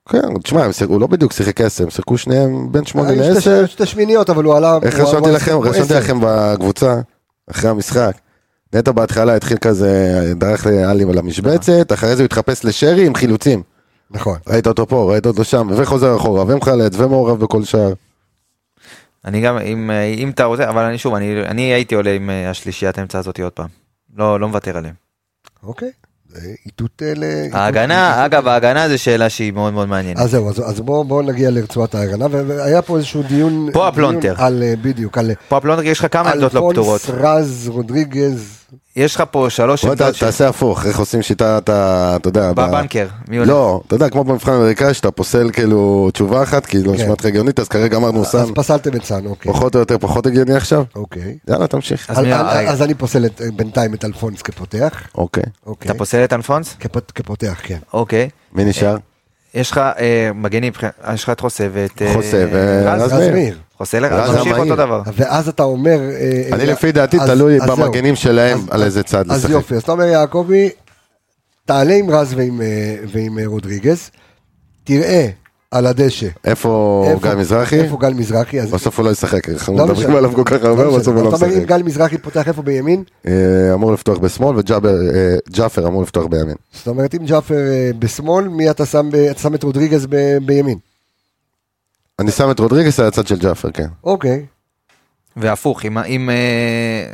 כן, תשמע, הם שיחקו- הוא לא בדיוק שיחק עשר, הם שיחקו שניהם בין שמונה היו שתי- לעשר. שתי שמיניות, אבל הוא עלה... איך אה, הוא- רשמתי הוא- לכם? הוא רשמתי עשר. לכם בקבוצה, אחרי המשחק. נטע בהתחלה התחיל כזה, דרך לאלי על המשבצת, אחרי זה הוא התחפש לשרי עם חילוצים. נכון. ראית אותו פה, ראית אותו שם, וחוזר אחורה, ומחלץ, ומעורב בכל שער. אני גם, אם, אה, אם אתה רוצה, אבל אני שוב, אני, אני הייתי עולה עם אה, השלישיית האמצע הזאת עוד פעם. לא, לא מוותר עליהם. אוקיי. זה איתות אה, ל... ההגנה, אגב, ההגנה זו שאלה שהיא מאוד מאוד מעניינת. אז זהו, אז, אז בואו בוא נגיע לרצועת ההגנה, והיה פה איזשהו דיון... פה הפלונטר. דיון על, אה, בדיוק, על פה הפלונטר, יש לך כמה עמדות לא פתורות. אלפונס, רז, רודריגז, יש לך פה שלוש בוא עמדות ת- ש- תעשה הפוך, איך עושים שיטה, אתה, אתה יודע. ב- בבנקר. מי עולה? לא, אתה יודע, כמו במבחן האמריקאי, שאתה פוסל כאילו תשובה אחת, כי לא כן. נשמעת לך הגיונית, אז כרגע אמרנו סם, אז פסלתם את סאן, אוקיי. פחות או יותר, פחות הגיוני עכשיו. אוקיי. יאללה, תמשיך. אז אז, מי- אז, רגע. אז אני פוסל את, אה, בינתיים את אלפונס כפותח, אוקיי, אוקיי. אתה פוסל את אלפונס? כפ, כפותח, כן. אוקיי. מי נשאר? יש לך אה, מגנים, יש לך את חוסה ואת... אה, חוסה ורז רז מאיר. מאיר. חוסלר, ואז אז זה ממשיך מהיר. אותו דבר. ואז אתה אומר... אה, אני אה, לפי דעתי אז- תלוי אז זהו. במגנים שלהם אז- על איזה צד אז לשחק. יופי, אז אתה אומר יעקבי, תעלה עם רז ועם, אה, ועם אה, רודריגז, תראה על הדשא. איפה איפה- גיא מזרחי? איפה גל מזרחי? אז- בסוף הוא לא ישחק, אנחנו לא מדברים משנה. עליו כל כך לא הרבה, משנה. בסוף הוא לא אתה אומר, אם משחק. גל מזרחי פותח איפה בימין? אה, אמור לפתוח בשמאל וג'אפר אמור לפתוח בימין. זאת אומרת, אם ג'אפר אה, בשמאל, מי אתה שם, ב- אתה שם את רודריגז ב- בימין? אני שם את רודריגס על הצד של ג'אפר, כן. אוקיי. והפוך, אם- אם אה,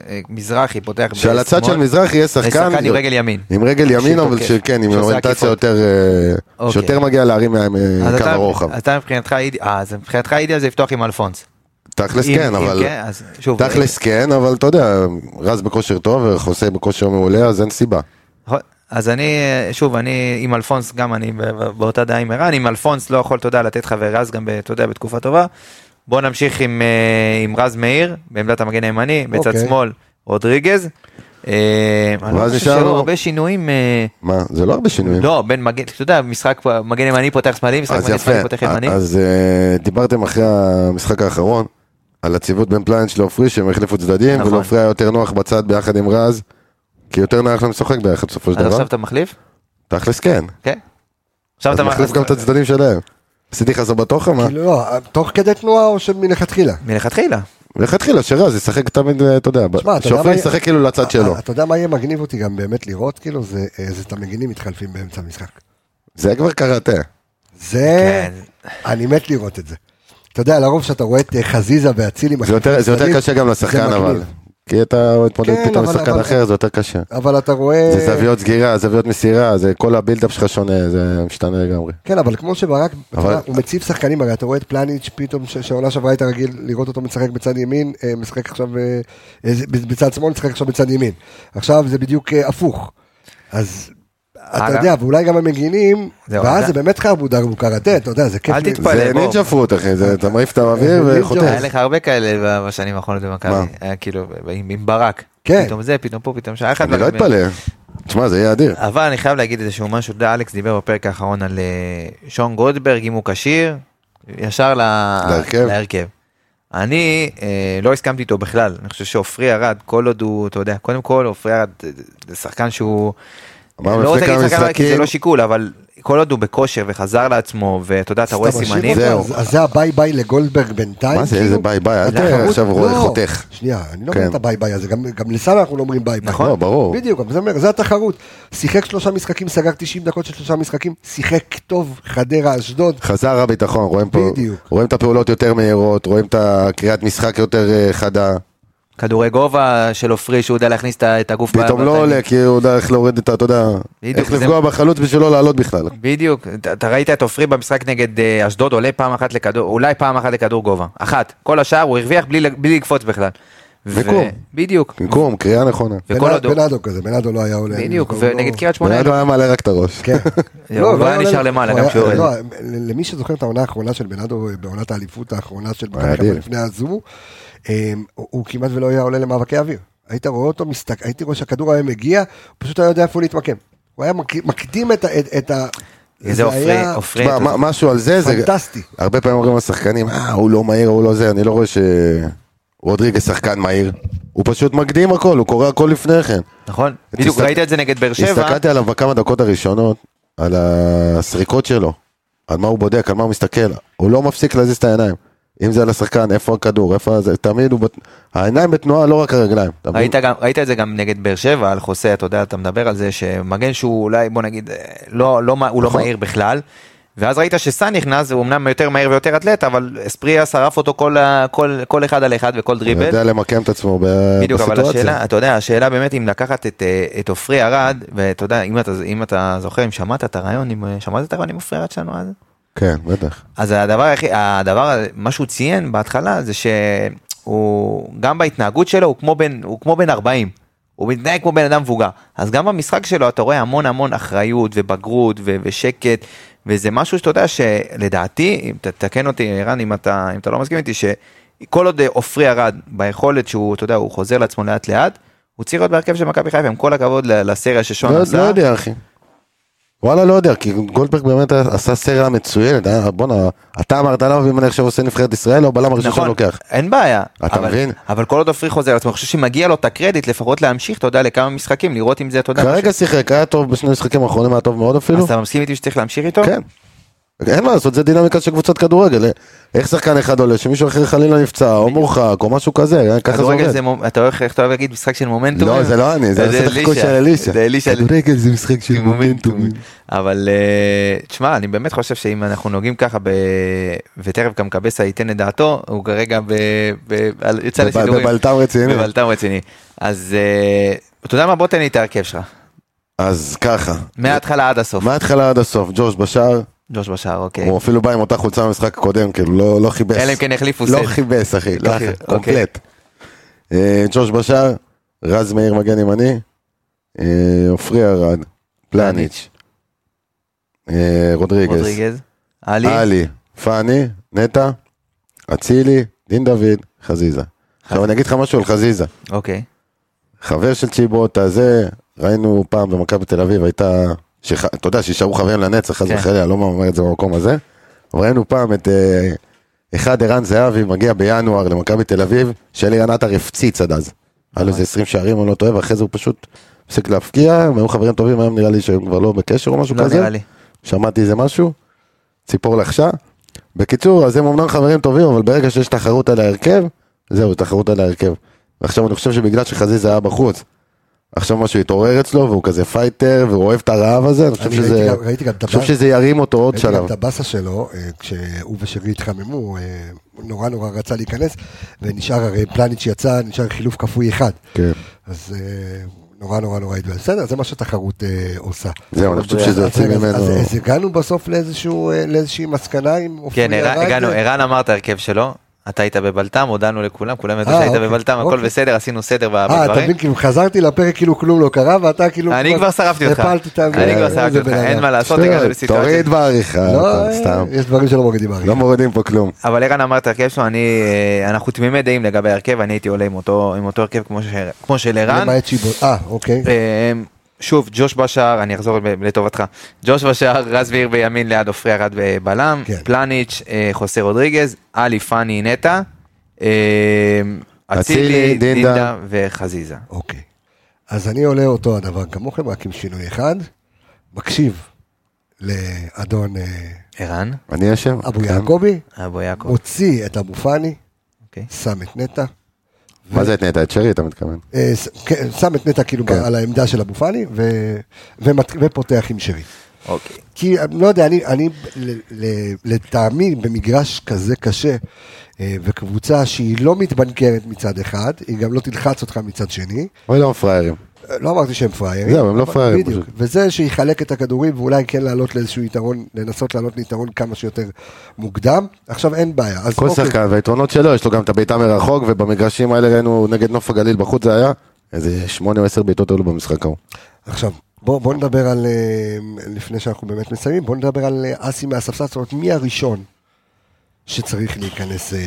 אה, מזרחי פותח שעל הצד של בשמאל, מזרחי יהיה שחקן שחקן עם רגל ימין. עם רגל ימין, אבל שתוקף, שכן, עם שעושה אוריינטציה עקיפות. יותר, אה, אוקיי. שיותר מגיע להרים אז מהקו אתה- הרוחב. אתה מבחינתך, איד- אה, אז מבחינתך אידיאל זה לפתוח עם אלפונס. תכלס אם- כן, אם אבל... אז שוב, תכלס כן, אבל אתה יודע, רז בכושר טוב וחוסה בכושר מעולה, אז אין סיבה. נכון. אז אני, אה, שוב, אני עם אלפונס, גם אני ב- ב- באותה דעה עם ערן, עם אלפונס לא יכול, אתה יודע, לתת לך ורז גם, ב- אתה יודע, בתקופה טובה. בוא נמשיך עם, אה, עם רז מאיר, בעמדת המגן הימני, בצד אוקיי. שמאל, רודריגז. אה, אני לא ואז חושב נשאר שהיו לו- הרבה שינויים, אה, מה, זה לא הרבה שינויים. לא, בין מגן, אתה יודע, משחק פה- מגן ימני פותח שמאלי, משחק אז מגן יפה, שמאלי פותח ימני. אז אה, דיברתם אחרי המשחק האחרון על הציוות בין פליינש לעופרי שהם החליפו צדדים, נכון. ולעופרי היה יותר נוח בצד ביחד עם רז, כי יותר נוח להם לשחק ביחד בסופו של אז דבר. עכשיו אתה מחליף? תכלס כן, כן. עכשיו אז אתה מחליף אז- גם את הצדדים שלהם. עשיתי לך סבתוכה מה? כאילו, לא, תוך כדי תנועה או שמלכתחילה? מלכתחילה. לכתחילה שרז ישחק תמיד, אה, אתה יודע, תשמע, אתה יודע שעופרי מה- אה, ישחק כאילו לצד שלו. אתה יודע מה יהיה מגניב אותי גם באמת לראות? כאילו, זה אה, זה את המגינים מתחלפים באמצע המשחק. זה כבר קראטה. זה, כן. אני מת לראות את זה. אתה יודע, לרוב כשאתה רואה את אה, חזיזה ואצילי, זה יותר- זה יותר מחליפים קשה גם צדדים, לשחקן זה אבל. מגניב. כי אתה מתמודד כן, פתאום אבל- עם שחקן אבל- אחר, זה יותר קשה. אבל אתה רואה... זה זוויות סגירה, זוויות מסירה, זה כל הבילדאפ שלך שונה, זה משתנה לגמרי. כן, אבל כמו שברק, אתה אבל- יודע, הוא מציב שחקנים, הרי אתה רואה את פלניץ' פתאום, ש- שהעונה שעברה היית רגיל לראות אותו משחק בצד ימין, אה, משחק עכשיו, אה, אה, ב- בצד שמאל, משחק עכשיו בצד ימין. עכשיו זה בדיוק אה, הפוך. אז אתה אגב. יודע, ואולי גם המגינים, זהו, ואז אתה- זה באמת חרבודר וקראטה, אתה יודע, זה כיף. אל לי- תתפלא. זה בוא, נינג'ה בוא. פרוט אחי, זה- אתה מעיף את האוויר נינג'ה. וחוטף. היה לך הרבה כאלה ב- בשנים האחרונות במכבי, אוקיי, מה? היה כאילו עם עם ברק, כן. פתאום זה, פתאום פה, פתאום שם, היה אחד אני לא מהגבים. אתפלא. תשמע, זה יהיה אדיר. אבל אני חייב להגיד איזשהו משהו, אתה יודע, אלכס דיבר בפרק האחרון על אה, שון גולדברג, אם הוא כשיר, ישר ל- להרכב. להרכב. אני אה, לא הסכמתי איתו בכלל, אני חושב שעופרי ארד, כל עוד הוא, אתה יודע, קודם כל עופרי ארד אה, זה שחקן שהוא, אמר לא לפני רוצה להגיד כמה שחקן רע, כי זה משחקים- לא שיקול, אבל כל עוד הוא בכושר וחזר לעצמו, ואתה יודע, אתה רואה משאיר סימנים, אותו, זהו. אז- אז זה הביי ביי לגולדברג בינתיים. מה זה, כאילו? איזה ביי ביי, אל התחרות- תראה עכשיו רואה לא. חותך. שנייה, אני לא כן. מבין את הביי ביי הזה, גם- גם לסאלה אנחנו לא אומרים ביי ביי. לא, ברור. בדיוק, אבל זה אומר, זה התחרות. שיחק שלושה משחקים, סגר 90 דקות של שלושה משחקים, שיחק טוב, חדרה, אשדוד. חזר הביטחון, רואים פה, בדיוק. רואים את הפעולות יותר מהירות, רואים את הקריאת משחק יותר אה, חדה. כדורי גובה של עופרי, שהוא יודע להכניס את ה- את הגוף. פתאום ב- לא ב- עולה, כי הוא יודע איך להוריד את ה... אתה יודע, בדיוק, איך זה- לפגוע בחלוץ בשביל לא לעלות בכלל. בדיוק, אתה- אתה ראית את עופרי במשחק נגד אה, אשדוד עולה פעם אחת לכדור, אולי פעם אחת לכדור גובה, אחת, כל השאר הוא הרוויח בלי, ל- בלי לקפוץ בכלל. ו- מיקום. בדיוק, במקום, קריאה נכונה. וכל בנ- הדור, בנאדו כזה, בנאדו לא היה עולה. בדיוק, כן, הוא לא- ונגד קריית שמונה, בנאדו היה מעלה רק את הראש. כן. הוא לא היה עולה לו- נשאר למעלה, הוא גם היה- כשהוא יורד. לא, למי שזוכר את העונה האחרונה של בנאדו, בעונת האליפות האחרונה של מכבי חיפה אדיר. לפני הזו, אמ, הוא הוא כמעט ולא היה עולה למאבקי אוויר. היית רואה אותו, מסתק- הייתי רואה שהכדור היה מגיע, הוא פשוט היה יודע איפה להתמקם. הוא היה מק- מקדים את ה... את- את ה... זה עופרי, היה עופרי, תשמע, אתה- מה- משהו על זה, זה... פנטסטי. הרבה פעמים אומרים לשחקנים, אה, הוא לא מהיר, הוא לא זה, אני לא רואה ש... רודריגס שחקן מהיר. הוא פשוט מקדים הכל, הוא קורא הכל לפני כן. נכון, בדיוק הסתכל- ראית את זה נגד באר שבע, הסתכלתי עליו בכמה דקות הראשונות, על הסריקות שלו, על מה הוא בודק, על מה הוא מסתכל. הוא לא מפסיק להזיז את העיניים. אם זה על השחקן, איפה הכדור, איפה זה, תמיד הוא... בת- העיניים בתנועה, לא רק הרגליים. אתה מבין? ראית, גם, ראית את זה גם נגד באר שבע, על חוסה, אתה יודע, אתה מדבר על זה שמגן שהוא אולי, בוא נגיד, אה, לא, לא, מה- הוא לא נכון. מהיר בכלל. ואז ראית שסאן נכנס, הוא אמנם יותר מהיר ויותר אתלט, אבל אספריה שרף אותו כל, ה- כל, כל אחד על אחד וכל הוא דריבל. יודע למקם את עצמו ב... בדיוק, אבל בסיטואציה. השאלה, אתה יודע, השאלה באמת אם לקחת את, אה, את עופרי ארד, ואתה יודע, אם אתה, אם אתה זוכר, אם שמעת את הרעיון, אם אה, שמעת את הרעיון עם עופרי ארד שלנו אז? כן, בטח. אז הדבר היחיד, הדבר, מה שהוא ציין בהתחלה זה שהוא, גם בהתנהגות שלו הוא כמו בן, הוא כמו בן 40. הוא מתנהג כמו בן אדם מבוגר. אז גם במשחק שלו אתה רואה המון המון אחריות ובגרות ו- ושקט, וזה משהו שאתה יודע שלדעתי, אם ת- תקן אותי ערן אם אתה, אם אתה לא מסכים איתי, שכל עוד אה, עופרי ארד ביכולת שהוא, אתה יודע, הוא חוזר לעצמו לאט לאט, הוא צריך להיות בהרכב של מכבי חיפה, עם כל הכבוד ל- לסריה ששון לא עשה. לא יודע, אחי. וואלה, לא יודע, כי גולדברג באמת עשה סריה מצוינת, אה, בואנה, אתה אמרת עליו, אם אני עכשיו עושה נבחרת ישראל, או בלם הראשון שאני לוקח. נכון, אין בעיה. אתה אבל- מבין? אבל כל עוד עופרי חוזר לעצמו, אני חושב שמגיע לו את הקרדיט לפחות להמשיך, אתה יודע, לכמה משחקים, לראות אם זה, אתה יודע, כרגע שיחק, היה טוב בשני המשחקים האחרונים, היה טוב מאוד משהו. אפילו. נכון. אז אתה מסכים איתי שצריך להמשיך איתו? כן. אין מה לעשות, זה דינמיקה של קבוצת כדורגל. אה, איך שחקן אחד עולה, שמישהו אחר חלילה נפצע, או מורחק, או משהו כזה, אה, ככה זה כדורגל עובד. זה, מומ- אתה הולך, איך אתה אוהב להגיד, משחק של מומנטום? לא, זה לא אני, זה עושה את החיקוי של אלישע. זה אלישע. כדורגל זה משחק של מומנטומים. אבל אה, תשמע, אני באמת חושב שאם אנחנו נוגעים ככה, ב... ותכף גם קבסה ייתן את דעתו, הוא כרגע ב... ב... על- יצא בב- לשידורים. בבלטם רציני. בבלטם רציני. אז אה, אתה יודע מה? בוא תן לי את ההרכב שלך. אז ככה, מההתחלה עד הסוף. מההתחלה עד הסוף, ג'וש בשער, ג'וש בשער, אוקיי. הוא אפילו בא עם אותה חולצה במשחק הקודם, כאילו, לא- לא חיבס. אלא אם כן החליפו לא סט. חיבס, אחי, לא ככה, חיבס, אוקיי. קומפלט. אה, ג'וש בשער, רז מאיר מגן ימני, אה, עופרי ארד, פלניץ', אה, רודריגז, רודריגז. עלי. עלי, פאני, נטע, אצילי, דין דוד, חזיזה. עכשיו אני אגיד לך משהו על חזיזה. אוקיי. חבר של צ'יבוטה, זה, ראינו פעם במכבי תל אביב, הייתה, שח- אתה יודע, שישארו חברים לנצח, חס כן. וחלילה, לא אומר את זה במקום הזה. אבל ראינו פעם את אה, אחד, ערן זהבי, מגיע בינואר למכבי תל אביב, שאלירן עטר הפציץ עד אז. היה לו איזה 20 שערים, אני לא טועה, ואחרי זה הוא פשוט הפסיק להפקיע, הם היו חברים טובים, היום נראה לי שהם כבר לא בקשר או משהו לא כזה. נראה לי. שמעתי איזה משהו, ציפור לחשה. בקיצור, אז הם אמנם חברים טובים, אבל ברגע שיש תחרות על ההרכב, זהו, תחרות על ההרכב. ועכשיו אני חושב שבגלל שחזיזה היה בחוץ, עכשיו משהו התעורר אצלו, והוא כזה פייטר, והוא אוהב את הרעב הזה, אני חושב אני שזה, ראיתי גם- ראיתי גם את אני חושב הבאז- שזה ירים אותו עוד ראיתי גם שלב. את הבאסה שלו, אה, כשהוא ושרי התחממו, אה, הוא נורא נורא רצה להיכנס, ונשאר, הרי פלניץ' יצא, נשאר חילוף כפוי אחד. כן. אז אה, נורא נורא נורא התבאס. בסדר, זה מה שתחרות אה, עושה. זהו, אני חושב שזה יוצא אז- אז- ממנו. אז הגענו בסוף לאיזשהו, אה, לאיזושהי מסקנה עם אה, עופרי כן, ערן- ארד? הגענו, ערן אמר את ההרכב שלו. אתה היית בבלטם, הודענו לכולם, כולם ידעו אה, שהיית אוקיי, בבלטם, הכל אוקיי. בסדר, עשינו סדר ב- אה, אתה בדברים. מבין, כאילו חזרתי לפרק כאילו כלום לא קרה, ואתה כאילו... אני כבר שרפתי אותך, הפלת את ה- אני אה, כבר שרפתי זה אותך, בן אדם. אין מה לעשות, שטויות, הגענו לסיטואציה. תוריד בעריכה, לא, אתה אה, סתם. יש דברים שלא מורידים הרגע. לא מורידים פה כלום. אבל ערן אמר את ההרכב שלו, אני, אה, אנחנו תמימי דעים לגבי ההרכב, אני הייתי עולה עם אותו, עם אותו הרכב כמו, ש, כמו של ערן. למעט שיבוט. אה, אוקיי. אה, שוב, ג'וש בשער, אני אחזור ב- לטובתך. ג'וש בשער, רז מאיר בימין ליד עופרי ארד בבלם, כן. פלניץ', אה, חוסה רודריגז, עלי פאני נטע, אה, אצילי, אצילי, דינדה. דינדה וחזיזה. אוקיי. אז אני עולה אותו הדבר כמוכם, רק עם שינוי אחד. מקשיב לאדון אה, ערן, אני אשם? אבו כן. יעקבי, אבו יעקב. מוציא את אבו פאני, אוקיי. שם את נטע. מה זה את נטע? את שרי אתה מתכוון? אה, ש- כן, שם את נטע כאילו כן. על העמדה של אבו פאני, ו- ומת- ופותח עם שרי. אוקיי. כי אני לא יודע, אני, אני ל- ל- לטעמי במגרש כזה קשה, אה, וקבוצה שהיא לא מתבנקרת מצד אחד, היא גם לא תלחץ אותך מצד שני, אוי, לא פראיירים. אה, לא אמרתי שהם פראיירים. זהו, הם לא אבל- פראיירים, בדיוק, פשוט. וזה שיחלק את הכדורים ואולי כן לעלות לאיזשהו יתרון, לנסות לעלות ליתרון כמה שיותר מוקדם. עכשיו אין בעיה. אז כל אוקיי, שחקן והיתרונות שלו, יש לו גם את הבעיטה מרחוק, ובמגרשים האלה ראינו נגד נוף הגליל בחוץ זה היה, איזה שמונה או עשר בעיטות עלו במשחק ההוא. עכשיו, בוא, בוא נדבר על, אה, לפני שאנחנו באמת מסיימים, בוא נדבר על אה, אסי מהספסל, זאת אומרת, מי הראשון שצריך להיכנס... אה,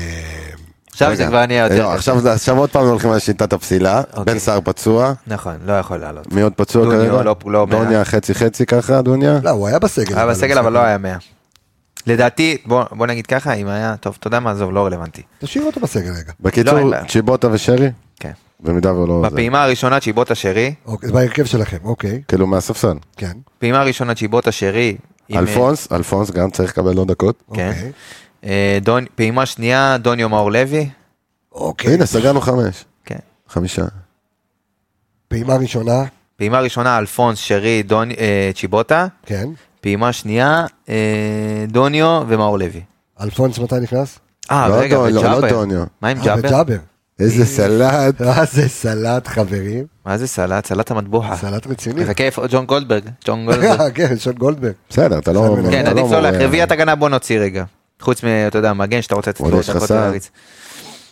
עכשיו זה רגע, כבר נהיה לא, יותר... עכשיו זה- עכשיו עוד פעם לא הולכים על שיטת הפסילה, אוקיי. בן סער פצוע, נכון, לא יכול לעלות. מי עוד פצוע דוניה, כרגע? לא- לא מאה. דוניה חצי חצי ככה, דוניה? לא, הוא היה בסגל. היה בסגל אבל לא היה 100. לדעתי, בוא בוא נגיד ככה, אם היה, טוב, אתה יודע מה, עזוב, לא רלוונטי. תשאיר אותו בסגל רגע. לא, אין בקיצור, בעיה. צ'יבוטה ושרי, כן. במידה והוא לא... זה. בפעימה הראשונה צ'יבוטה שרי, אוקיי, בהרכב שלכם, אוקיי, כאילו מהספסל. כן. פעימה ראשונה צ'יבוטה שרי, עם, אה, אלפונס, אלפונס גם צריך לקבל לו דקות. כן. אוקיי. אה, דון- פעימה שנייה דוניו מאור לוי, אוקיי, הנה, סגרנו חמש, כן. חמישה. פעימה ראשונה, פעימה ראשונה אלפונס שרי דון- אה, צ'יבוטה, כן. פעימה שנייה אה, דוניו ומאור לוי. אלפונס מתי נכנס? אה, לא רגע, דון- לא- לא וג'אבר. דוניו. מה עם אה, ג'אבר? וג'אבר. איזה סלט. אה, זה סלט חברים, מה זה סלט? סלט המטבוחה. סלט רציני. מחכה איפה ג'ון גולדברג. ג'ון גולדברג. אה, כן, שון גולדברג. בסדר, אתה לא... כן, כן, אתה לא עדיף לא מורה. לך, רביעיית הגנה בוא נוציא רגע. חוץ מ... אתה יודע, מגן שאתה רוצה לצאת עוד יש דקות חסם. ולהריץ.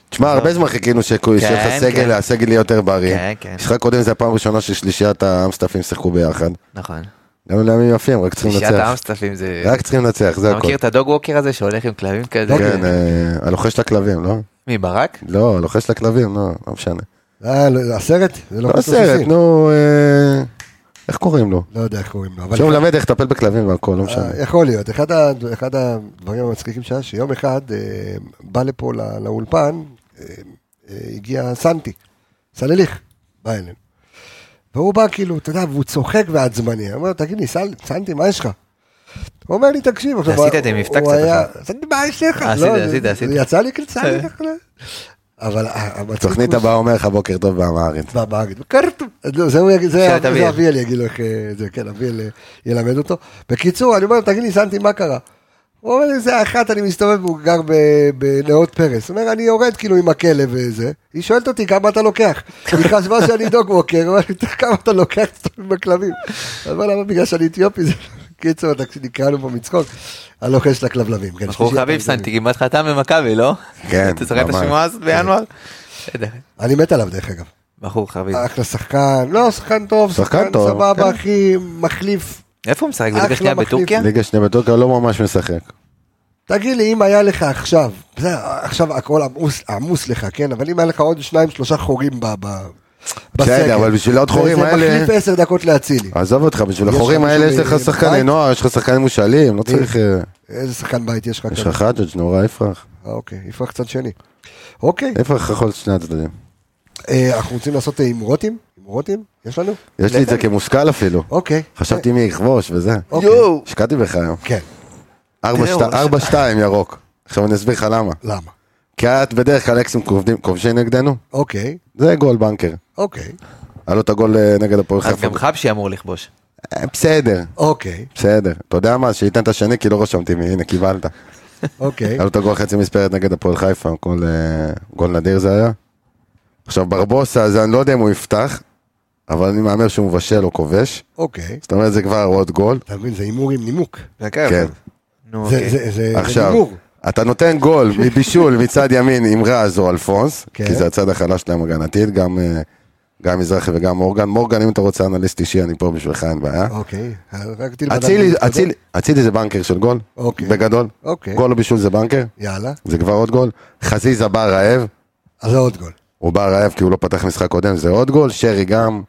תשמע, הרבה זמן חיכינו שכו- כן, שיהיה לך כן. סגל, הסגל יהיה יותר בריא. כן, כן. משחק קודם זה הפעם הראשונה ששלישיית האמסטאפים שיחקו ביחד. נכון. גם לימים יפים, רק צריכים שיעת לנצח. האמסטרפים זה... רק צריכים לנצח, זה אתה הכל. מכיר את הדוג ווקר הזה שהולך עם כלבים כזה? אוקיי. כן, אה, הלוחש לכלבים, לא? מי, ברק? לא, הלוחש לכלבים, לא, לא משנה. אה, לא, הסרט? זה לא לא חוץ סרט, לסוסים. נו... אה, איך קוראים לו? לא יודע איך קוראים לו. אבל שלום למד איך לטפל בכלבים והכל, לא משנה. אה, יכול להיות. אחד, ה, אחד הדברים המצחיקים שהיה, שיום אחד אה, בא לפה לא, לאולפן, אה, אה, הגיע סנטי, סלליך, בא אלינו. והוא בא כאילו, אתה יודע, והוא צוחק ועצבני. אני אומר, תגיד לי, סל- סנטי, מה יש לך? הוא אומר לי, תקשיב, עכשיו, עשית הוא- את זה עם מבטא הוא קצת היה- עכשיו. סנטי, מה יש לך? עשית, לא, עשית, זה- עשית. זה יצא לי כאילו סנטי. ככה. אבל ה- המצחיק תוכנית הוא- הבאה אומר לך בוקר טוב באמהרית. מה, מה אגיד? קרטו. לא, זה הוא יגיד, זה שאלת אביאל. זה אביאל יגיד לו איך אה, זה, כן, אביאל אה, ילמד אותו. בקיצור, אני אומר לו, תגיד לי, סנטי, מה קרה? הוא אומר לי, זה אחת, אני מסתובב, הוא גר ב- בנאות פרס. הוא אומר, אני יורד כאילו עם הכלב וזה. היא שואלת אותי, כמה אתה לוקח? היא חשבה שאני דוג ווקר, היא אומרת לי, כמה אתה לוקח מסתובב עם הכלבים? אני אומר למה בגלל שאני אתיופי? זה- לא-" בקיצור, תקשיב, נקראנו פה מצחוק, הלוחש לכלבלבים. כן, בחור שלישי, חביב אתה מבין. סנטי כמעט חתם במכבי, לא? כן, אתה זוכר את ממש. השמועה הזאת בינואר? בסדר, אני מת עליו, דרך אגב. בחור חביב. אחלה שחקן, לא, שחקן טוב, שחקן שחקן טוב, סבבה, כן. אחי, מחליף איפה הוא משחק? אה, אחלה בליגה שנייה מחליף. בטורקיה? ליגה שנייה בטורקיה לא ממש משחק. תגיד לי, אם היה לך עכשיו, זה, עכשיו הכל עמוס, עמוס לך, כן? אבל אם היה לך עוד שניים, שלושה חורים ב, ב, בסגל. בסדר, אבל בשביל העוד חורים זה- זה האלה- אה. מחליף עשר דקות להצילי. עזוב אותך, בשביל יש החורים לך האלה יש מישהו לך בבית? שחקני נוער, יש לך שחקנים מושאלים, לא צריך... אה, איזה שחקן בית יש לך יש כאן? לך חג'ג' נורא יפרח. אה, אוקיי, יפרח צד שני. אוקיי, יפרח יכול להיות שני הצדדים. אה, אנחנו רוצים לעשות אה, הימורוטים? הימורוטים? יש לנו? יש לי את זה כמושכל אפילו. אוקיי. חשבתי מי יכבוש וזה. אוקיי. השקעתי בך היום. כן, ארבע תראה, שתי- הוא- ארבע שתיים ירוק. עכשיו אני אסביר לך למה. למה? כי את בדרך כלל אקסים כובדים- כובשים נגדנו, אוקיי, זה גול בנקר. אוקיי, היה לו את הגול אה, נגד הפועל אז חיפה. גם חבשי אמור לכבוש. אה, בסדר, אוקיי, בסדר. אתה יודע מה? שייתן את השני כי לא רשמתי מי, הנה קיבלת. אוקיי. היה לו את הגול חצי מספרת נגד הפועל חיפה, גול, אה, גול נדיר זה היה. עכשיו ברבוסה, זה אני לא יודע אם הוא יפתח, אבל אני מהמר שהוא מבשל או כובש. אוקיי. זאת אומרת זה כבר עוד גול. אתה מבין, זה הימור עם נימוק. כן. נו, זה- אוקיי. זה זה- זה עכשיו, הימור. אתה נותן גול מבישול מצד ימין עם רז או אלפונס, כן. כי זה הצד החלש שלהם הגנתית, גם, אה, גם מזרחי וגם מורגן. מורגן, אם אתה רוצה אנליסט אישי, אני פה בשבילך, אין בעיה. אוקיי, רק תלמד. אצילי- להתקדם. אצילי- אצילי זה בנקר של גול, אוקיי. בגדול. אוקיי. גול או בישול זה בנקר, יאללה, זה כבר עוד גול. חזיזה בא רעב, אז זה עוד גול. הוא בא רעב כי הוא לא פתח משחק קודם, זה עוד גול. שרי גם,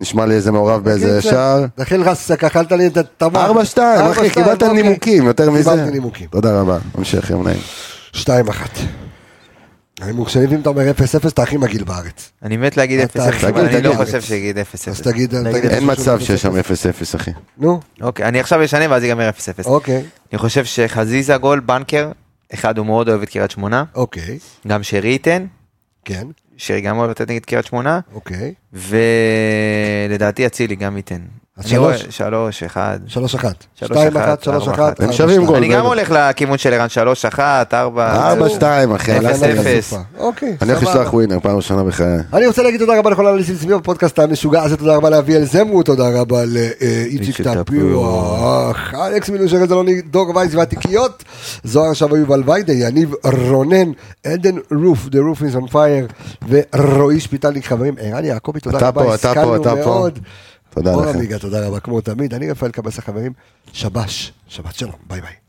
נשמע לי איזה מעורב אוקיי, באיזה קיצר, שער. לכן כן, רסק, אכלת לי את התמר. 4-2, אחי, 4-2, קיבלת אוקיי. נימוקים, יותר מזה. קיבלתי נימוקים. תודה רבה, המשך יום נעים. 2-1. ההימור שלי, ואם אתה אומר 0-0, אתה הכי מגעיל בארץ. אני מת להגיד 0-0, אתה- תגיד, אבל אני לא תגיד. חושב שיגיד 0-0. אז תגיד, תגיד. אין מצב שיש שם 0-0, 0-0. אחי. נו, אוקיי, אני עכשיו אשנה ואז ייגמר 0-0. אוקיי, אני חושב שחזיזה גול, בנקר, אחד הוא מאוד אוהב את קריית שמונה, אוקיי, גם שרי ייתן, כן, שרי גם אוהב לתת נגד קריית שמונה, אוקיי. ולדעתי אצילי גם ייתן. אז אני רואה- שלוש. שלוש, אחד. 3-1. 2-1, 3-1, 4-2. שלוש אחת, ארבע אחת. הם שווים גול. אני גם בטח. הולך לכיוון של ערן, שלוש, אחת, ארבע. 4-2, אחי. אפס, הלכת כן, אפס. לזה. אוקיי, אני הולך סבבה. לשלוח ווינר, לא פעם ראשונה בחיי. אני רוצה להגיד תודה רבה לכל הנליסים סביב הפודקאסט המשוגע הזה, תודה רבה לאביאל זמרו, תודה רבה לאיציק איציק טפיוח, אלכס מילושר זלוני, דור וייס והתיקיות, זוהר שווה יובל ויידה, יניב רונן, עדן רוף, The Roof is on fire, ורועי שפיטלניק, חברים, ערן יעקבי, תודה אתה רבה, פה, אתה פה, השכלנו אתה פה. מאוד. תודה אור לכם. עמיגה, תודה רבה, כמו תמיד, אני רפאל קבס החברים, שבש, שבת שלום, ביי ביי.